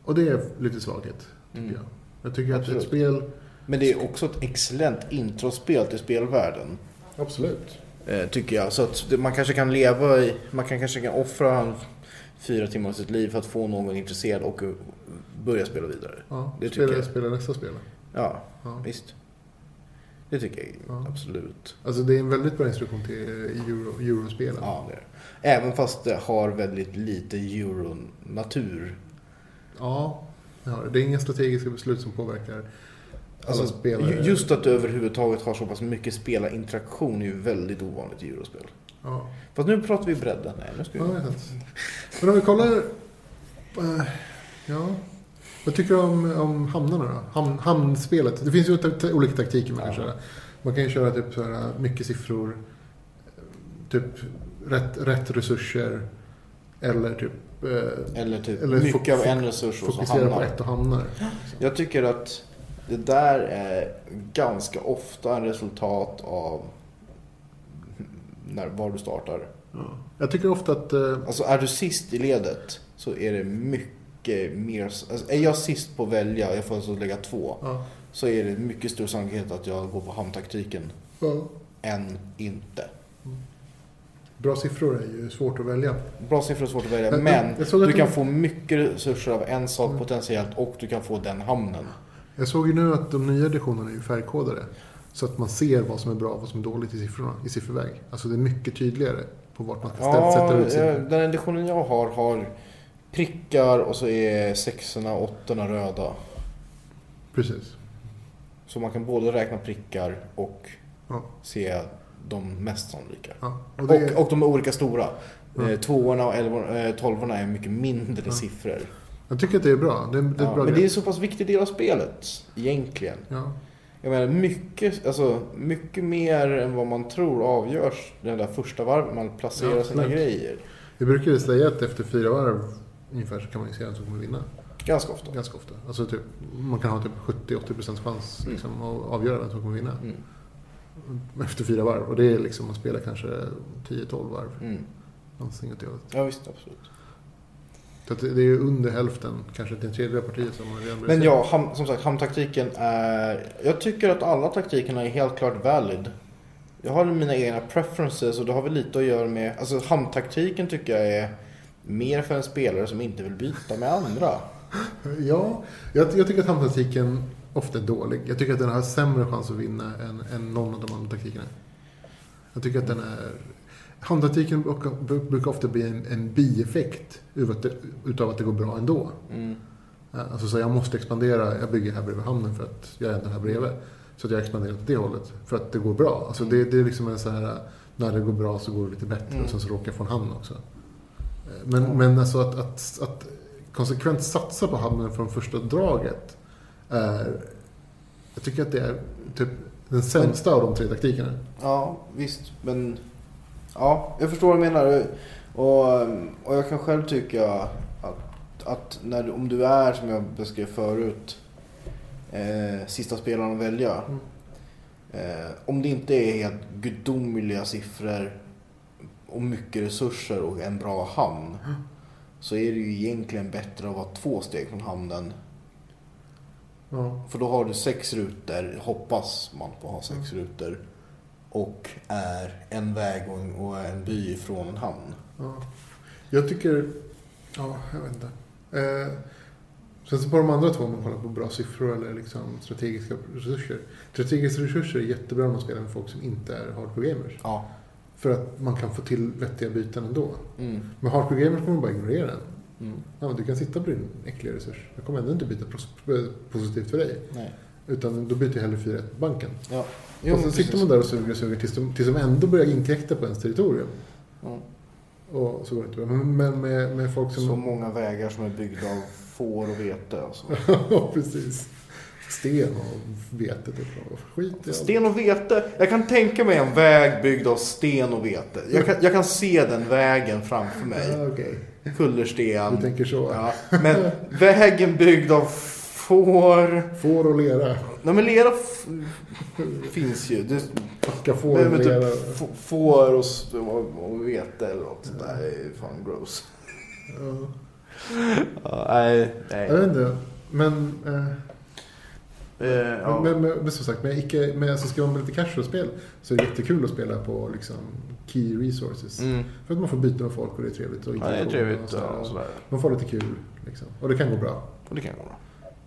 Speaker 2: Och det är lite svaghet, tycker
Speaker 1: Mm.
Speaker 2: jag. Jag tycker
Speaker 1: Absolut.
Speaker 2: att ett spel...
Speaker 1: Men det är också ett excellent introspel till spelvärlden.
Speaker 2: Absolut.
Speaker 1: eh, Tycker jag. Så att det- man kanske kan leva i... Man kan kanske kan offra en fyra timmar av sitt liv för att få någon intresserad och eh, börja spela vidare.
Speaker 2: Ja,
Speaker 1: Det tycker
Speaker 2: spela,
Speaker 1: jag.
Speaker 2: spela nästa spel.
Speaker 1: Ja,
Speaker 2: Ja.
Speaker 1: visst. Det tycker jag
Speaker 2: Ja.
Speaker 1: absolut.
Speaker 2: Alltså det är en väldigt bra instruktion till eh, euro, eurospelen.
Speaker 1: Ja, det är det. Även fast det har väldigt lite euronatur.
Speaker 2: Ja, det har det. Det är inga strategiska beslut som påverkar alla
Speaker 1: Alltså,
Speaker 2: spelare.
Speaker 1: ju- Just att du överhuvudtaget har så pass mycket spelarinteraktion är ju väldigt ovanligt i eurospel.
Speaker 2: Ja.
Speaker 1: Fast nu pratar vi bredden. Nej, nu ska
Speaker 2: Ja,
Speaker 1: vi...
Speaker 2: jag vet inte. Men om vi kollar... eh, Ja. Vad tycker du om, om hamnarna då? Ham, hamnspelet. Det finns ju ta, ta, olika taktiker man kan
Speaker 1: Ja.
Speaker 2: köra. Man kan ju köra typ så här, mycket siffror. eh, Typ rätt, rätt resurser. Eller typ eh,
Speaker 1: Eller typ
Speaker 2: Eller
Speaker 1: mycket
Speaker 2: fok-
Speaker 1: av en resurs och så
Speaker 2: fokusera på
Speaker 1: hamnar.
Speaker 2: ett och hamnar.
Speaker 1: Jag tycker att det där är ganska ofta en resultat av när, var du startar.
Speaker 2: Ja. Jag tycker ofta att... eh,
Speaker 1: Alltså är du sist i ledet så är det mycket mer... Alltså, är jag sist på att välja, jag får alltså lägga två,
Speaker 2: Ja,
Speaker 1: så är det mycket stor sannolikhet att jag går på hamntaktiken
Speaker 2: ja.
Speaker 1: än inte.
Speaker 2: Bra siffror är ju svårt att välja.
Speaker 1: Bra siffror är svårt att välja,
Speaker 2: Jag- jag-
Speaker 1: men
Speaker 2: jag såg att
Speaker 1: du
Speaker 2: de-
Speaker 1: kan få mycket resurser av en sak
Speaker 2: Mm.
Speaker 1: potentiellt och du kan få den hamnen.
Speaker 2: Jag såg ju nu att de nya editionerna är ju färgkodade. Så att man ser vad som är bra och vad som är dåligt i siffrorna, i sifferväg. Alltså det är mycket tydligare på vart man ska ställa,
Speaker 1: Ja,
Speaker 2: sätta ut
Speaker 1: eh,
Speaker 2: siffror.
Speaker 1: den editionen jag har har prickar och så är sexorna och åttorna röda.
Speaker 2: Precis.
Speaker 1: Så man kan både räkna prickar och
Speaker 2: Ja.
Speaker 1: se de mest sannolika.
Speaker 2: Ja. Och
Speaker 1: Och,
Speaker 2: det är,
Speaker 1: och, de är olika stora.
Speaker 2: Ja.
Speaker 1: Eh, Tvåorna och elvorna, eh, tolvorna är mycket mindre
Speaker 2: Ja.
Speaker 1: siffror.
Speaker 2: jag tycker att det är bra. Det är, det är
Speaker 1: Ja,
Speaker 2: ett bra
Speaker 1: men det är en
Speaker 2: grepp.
Speaker 1: så pass viktig del av spelet, egentligen.
Speaker 2: Ja.
Speaker 1: Jag menar, mycket, alltså, mycket mer än vad man tror avgörs den där första varvet man placerar
Speaker 2: Ja,
Speaker 1: sina
Speaker 2: absolut.
Speaker 1: grejer.
Speaker 2: Vi brukar ju säga att efter fyra varv ungefär så kan man ju se vem som kommer vinna.
Speaker 1: Ganska ofta.
Speaker 2: Ganska ofta. Alltså typ, man kan ha typ 70-80% chans
Speaker 1: Mm.
Speaker 2: liksom, att avgöra vem som kommer vinna.
Speaker 1: Mm.
Speaker 2: Efter fyra varv. Och det är liksom, man spelar kanske 10-12 varv.
Speaker 1: Mm.
Speaker 2: Någonting åt det hållet.
Speaker 1: Ja, visst, absolut.
Speaker 2: Så att det det är ju under hälften, kanske till en tredjedel av partiet som man redan börjat
Speaker 1: Men
Speaker 2: se.
Speaker 1: ja, ham, som sagt, hamntaktiken är... Jag tycker att alla taktikerna är helt klart valid. Jag har mina egna preferences och det har väl lite att göra med... Alltså hamntaktiken tycker jag är Mer för en spelare som inte vill byta med andra.
Speaker 2: Ja, jag, jag tycker att hamntaktiken ofta är dålig. Jag tycker att den har sämre chans att vinna än, än någon av de andra taktikerna. Jag tycker att den är... Hamntaktiken brukar, brukar ofta bli en, en bieffekt utav att, det, utav att det går bra ändå.
Speaker 1: Mm.
Speaker 2: Alltså så jag måste expandera, jag bygger här bredvid hamnen för att jag är ändå här bredvid. Så att jag expanderar åt det hållet, för att det går bra. Alltså det, det är liksom en så här, när det går bra så går det lite bättre
Speaker 1: Mm.
Speaker 2: och sen så råkar jag få en hamn också. Men, men alltså att, att, att konsekvent satsa på hamnen från första draget är, jag tycker att det är typ den sämsta av de tre taktikerna.
Speaker 1: Ja, visst. Men ja, jag förstår vad du menar. Och, och jag kan själv tycka att, att när, du- om du är, som jag beskrev förut, eh, sista spelaren att välja.
Speaker 2: Mm.
Speaker 1: Eh, om det inte är helt gudomliga siffror och mycket resurser och en bra hamn så är det ju egentligen bättre att vara två steg från hamnen.
Speaker 2: Ja.
Speaker 1: För då har du sex rutor, hoppas man på att ha sex rutor. Och är en väg och en, och en by från en hamn.
Speaker 2: Ja. Jag tycker... Ja, jag vet inte. Eh, sen så på de andra två, om man kollar på bra siffror eller liksom strategiska resurser. Strategiska resurser är jättebra när man spelar med folk som inte är hardcore gamers.
Speaker 1: Ja.
Speaker 2: För att man kan få till vettiga byten ändå.
Speaker 1: Mm.
Speaker 2: Men hardcore gamers kommer bara ignorera den.
Speaker 1: Mm.
Speaker 2: Ja, men du kan sitta på din äckliga resurs. Jag kommer ändå inte byta pros- eh, positivt för dig.
Speaker 1: Nej.
Speaker 2: Utan då byter jag hellre 4 på banken.
Speaker 1: Ja.
Speaker 2: och sen sitter man där och suger och suger tills de, tills de ändå börjar inkräkta på ens territorium.
Speaker 1: Mm.
Speaker 2: Och så går det inte bra. Men, men med, med folk som...
Speaker 1: Så många vägar som är byggda av får och vete. Alltså.
Speaker 2: Ja, precis. Sten och vetet och bra. skit i allt.
Speaker 1: Sten och vete. Jag kan tänka mig en väg byggd av sten och vete. Jag kan, jag kan se den vägen framför mig.
Speaker 2: Ja, Okej,
Speaker 1: Kullersten.
Speaker 2: du tänker så.
Speaker 1: Ja. Men vägen byggd av får...
Speaker 2: Får och lera.
Speaker 1: Nej men lera f- finns ju. Det,
Speaker 2: Packa får
Speaker 1: men,
Speaker 2: och
Speaker 1: men
Speaker 2: lera.
Speaker 1: typ f- får och, s- och, och vete eller något sånt där är fan gross.
Speaker 2: Ja.
Speaker 1: Ja, nej. nej.
Speaker 2: Jag vet inte. Men, eh,
Speaker 1: Eh, ja.
Speaker 2: men, men, men som sagt, med icke, med, alltså ska man med lite casual-spel så är det jättekul att spela på liksom, key resources.
Speaker 1: Mm.
Speaker 2: För att man får byta med folk och det är trevligt. Och
Speaker 1: Ja, det är
Speaker 2: interaktion
Speaker 1: trevligt.
Speaker 2: och sådär.
Speaker 1: Ja, och sådär.
Speaker 2: Man får lite kul. Liksom. Och det kan gå bra.
Speaker 1: Och det kan gå bra.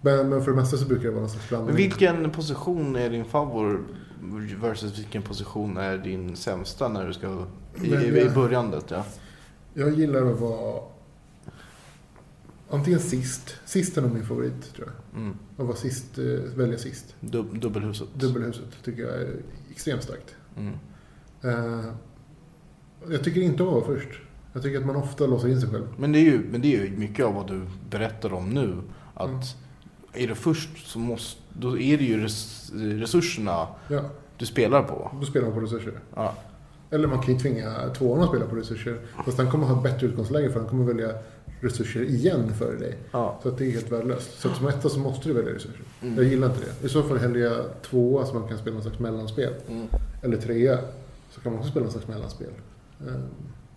Speaker 2: Men, men för det mesta så brukar det vara någon slags
Speaker 1: Men
Speaker 2: blandning.
Speaker 1: vilken position är din favor versus vilken position är din sämsta när du ska i, i, i
Speaker 2: Välja.
Speaker 1: börjandet? Ja.
Speaker 2: Jag gillar att vara antingen sist. Sist är nog min favorit tror jag.
Speaker 1: Mm.
Speaker 2: Att vara sist, eh, välja sist.
Speaker 1: Dub, dubbelhuset.
Speaker 2: Dubbelhuset tycker jag är extremt starkt.
Speaker 1: Mm.
Speaker 2: Eh, jag tycker inte om att vara först. Jag tycker att man ofta låser in sig själv.
Speaker 1: Men, det är ju, men det är ju mycket av vad du berättar om nu. Att
Speaker 2: Mm.
Speaker 1: är du först så måste, då är det ju res, resurserna
Speaker 2: Ja,
Speaker 1: du spelar på.
Speaker 2: då spelar man på resurser.
Speaker 1: Ja.
Speaker 2: Eller man kan ju tvinga tvåan att spela på resurser. Fast han kommer ha ett bättre utgångsläge för han kommer välja resurser igen före dig.
Speaker 1: Ja.
Speaker 2: Så att det är helt värdelöst. Så att som etta så måste du välja resurser.
Speaker 1: Mm.
Speaker 2: Jag gillar inte det. I så fall hellre jag tvåa så man kan spela någon slags mellanspel.
Speaker 1: Mm.
Speaker 2: eller trea så kan man också spela någon slags mellanspel. Eh,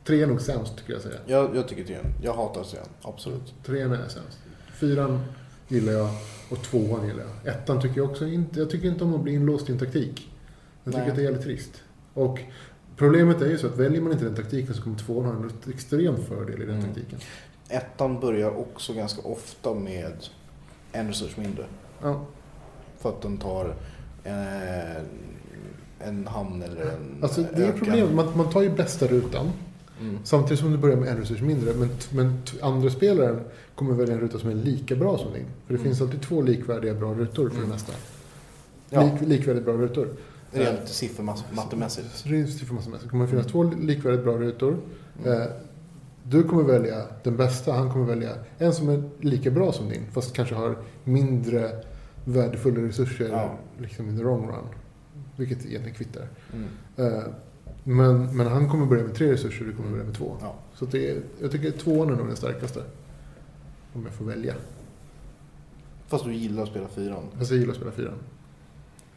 Speaker 2: Tre är nog sämst skulle jag säga.
Speaker 1: Jag, jag tycker det. Jag hatar scen, absolut.
Speaker 2: Trean är sämst. Fyran gillar jag och tvåan gillar jag. Ettan tycker jag också inte, jag tycker inte om att bli inlåst i en taktik. Jag tycker
Speaker 1: Nej.
Speaker 2: att det är jävligt trist. Och problemet är ju så att väljer man inte den taktiken så kommer tvåan ha en extrem fördel i den
Speaker 1: Mm.
Speaker 2: taktiken.
Speaker 1: Ettan börjar också ganska ofta med en resurs mindre.
Speaker 2: Ja,
Speaker 1: För att den tar eh, en hamn eller en
Speaker 2: alltså det är
Speaker 1: öken.
Speaker 2: problemet, man, man tar ju bästa rutan
Speaker 1: Mm.
Speaker 2: samtidigt som du börjar med en resurs mindre. Men, t- men t- andra spelaren kommer välja en ruta som är lika bra som din. För det
Speaker 1: Mm.
Speaker 2: finns alltid två likvärdiga bra rutor för
Speaker 1: Mm.
Speaker 2: det mesta.
Speaker 1: Ja,
Speaker 2: Lik, likvärdigt bra rutor.
Speaker 1: rent siffermattemässigt.
Speaker 2: Så det är en siffermassa. Det kommer finnas
Speaker 1: Mm.
Speaker 2: två likvärdigt bra rutor.
Speaker 1: Mm.
Speaker 2: Eh, Du kommer välja den bästa, han kommer välja en som är lika bra som din fast kanske har mindre värdefulla resurser
Speaker 1: Ja.
Speaker 2: liksom in the wrong run. Vilket egentligen kvittar.
Speaker 1: Mm.
Speaker 2: Eh, Men, men han kommer börja med tre resurser och du kommer börja med två.
Speaker 1: Ja.
Speaker 2: Så att det är, jag tycker att tvåan är nog den starkaste. Om jag får välja.
Speaker 1: Fast du gillar att spela fyran.
Speaker 2: Fast jag gillar att spela fyran.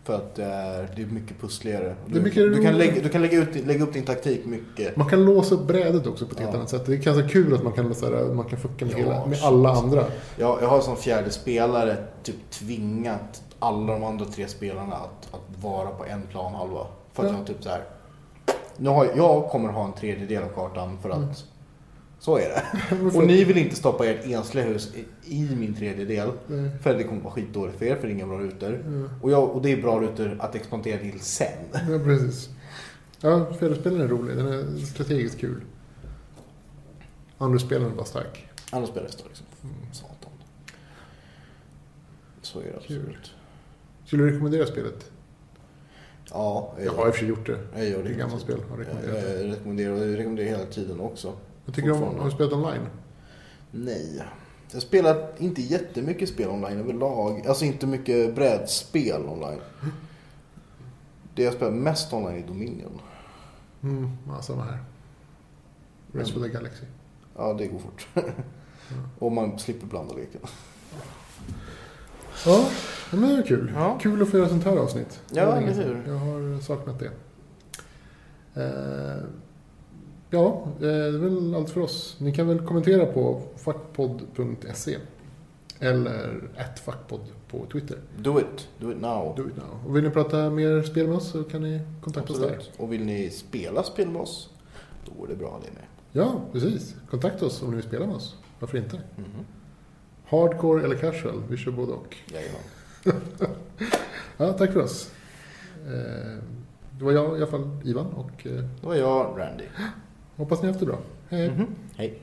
Speaker 1: För att det är, det är mycket pussligare.
Speaker 2: Det
Speaker 1: Du,
Speaker 2: är mycket
Speaker 1: du kan,
Speaker 2: roligare.
Speaker 1: lägga, du kan lägga, ut, lägga upp din taktik mycket.
Speaker 2: Man kan låsa upp brädet också på ett helt
Speaker 1: Ja.
Speaker 2: annat sätt. Det är ganska kul att man kan, så här, man kan fucka med,
Speaker 1: Ja,
Speaker 2: hela, med
Speaker 1: shit.
Speaker 2: alla andra.
Speaker 1: Jag, jag har som fjärde spelare typ tvingat alla de andra tre spelarna att, att vara på en planhalva. För att
Speaker 2: Ja.
Speaker 1: jag typ så här. Nu har, jag kommer ha en tredjedel av kartan för att
Speaker 2: Mm.
Speaker 1: Så är det. Och ni vill inte stoppa ert ensliga hus i- i min tredjedel.
Speaker 2: Nej.
Speaker 1: För det kommer vara skitdåligt för er, för det är inga bra rutor.
Speaker 2: Ja.
Speaker 1: Och, jag, och det är bra rutor att expandera till sen.
Speaker 2: Ja, precis. Ja, fjärilspelaren är rolig. Den är strategiskt kul. Andrespelaren var stark.
Speaker 1: Annars blir det stå liksom.
Speaker 2: Mm.
Speaker 1: Satan. Så är det absolut.
Speaker 2: Skulle du rekommendera spelet?
Speaker 1: Ja,
Speaker 2: Jag har i och för sig gjort det.
Speaker 1: jag gör
Speaker 2: Det är
Speaker 1: det.
Speaker 2: ett gammalt spel. Har
Speaker 1: Jag,
Speaker 2: rekommenderat det.
Speaker 1: jag Eh, rekommenderar jag rekommenderar hela tiden också.
Speaker 2: Vad tycker du om,
Speaker 1: fortfarande.
Speaker 2: har du spelat online?
Speaker 1: Nej. Jag spelar inte jättemycket spel online överlag. Alltså inte mycket brädspel online. Det jag spelar mest online är Dominion.
Speaker 2: Mm, ja, samma här. Rest of the Galaxy.
Speaker 1: Ja, det går fort. Och man slipper blanda leken.
Speaker 2: Ja, ja, men det är kul.
Speaker 1: Ja.
Speaker 2: Kul att få göra sånt här avsnitt.
Speaker 1: Ja,
Speaker 2: Det var länge
Speaker 1: eller hur?
Speaker 2: sedan. Jag har saknat det. Eh, ja, eh, det är väl allt för oss. Ni kan väl kommentera på fackpodd.se eller fackpodd på Twitter.
Speaker 1: Do it. Do it now.
Speaker 2: Do it now. Och vill ni prata mer spel med oss så kan ni kontakta oss där.
Speaker 1: Absolut. Och vill ni spela spel med oss, då går det bra det med.
Speaker 2: Ja, precis. Kontakta oss om ni vill spela med oss. Varför inte?
Speaker 1: Mhm.
Speaker 2: Hardcore eller casual, vi kör både och.
Speaker 1: Jajamän.
Speaker 2: Ja, tack för oss. Eh, det var jag i alla fall, Ivan, och eh,
Speaker 1: Det var jag, Randy.
Speaker 2: hoppas ni har haft det bra. Hej!
Speaker 1: Mhm. Hej.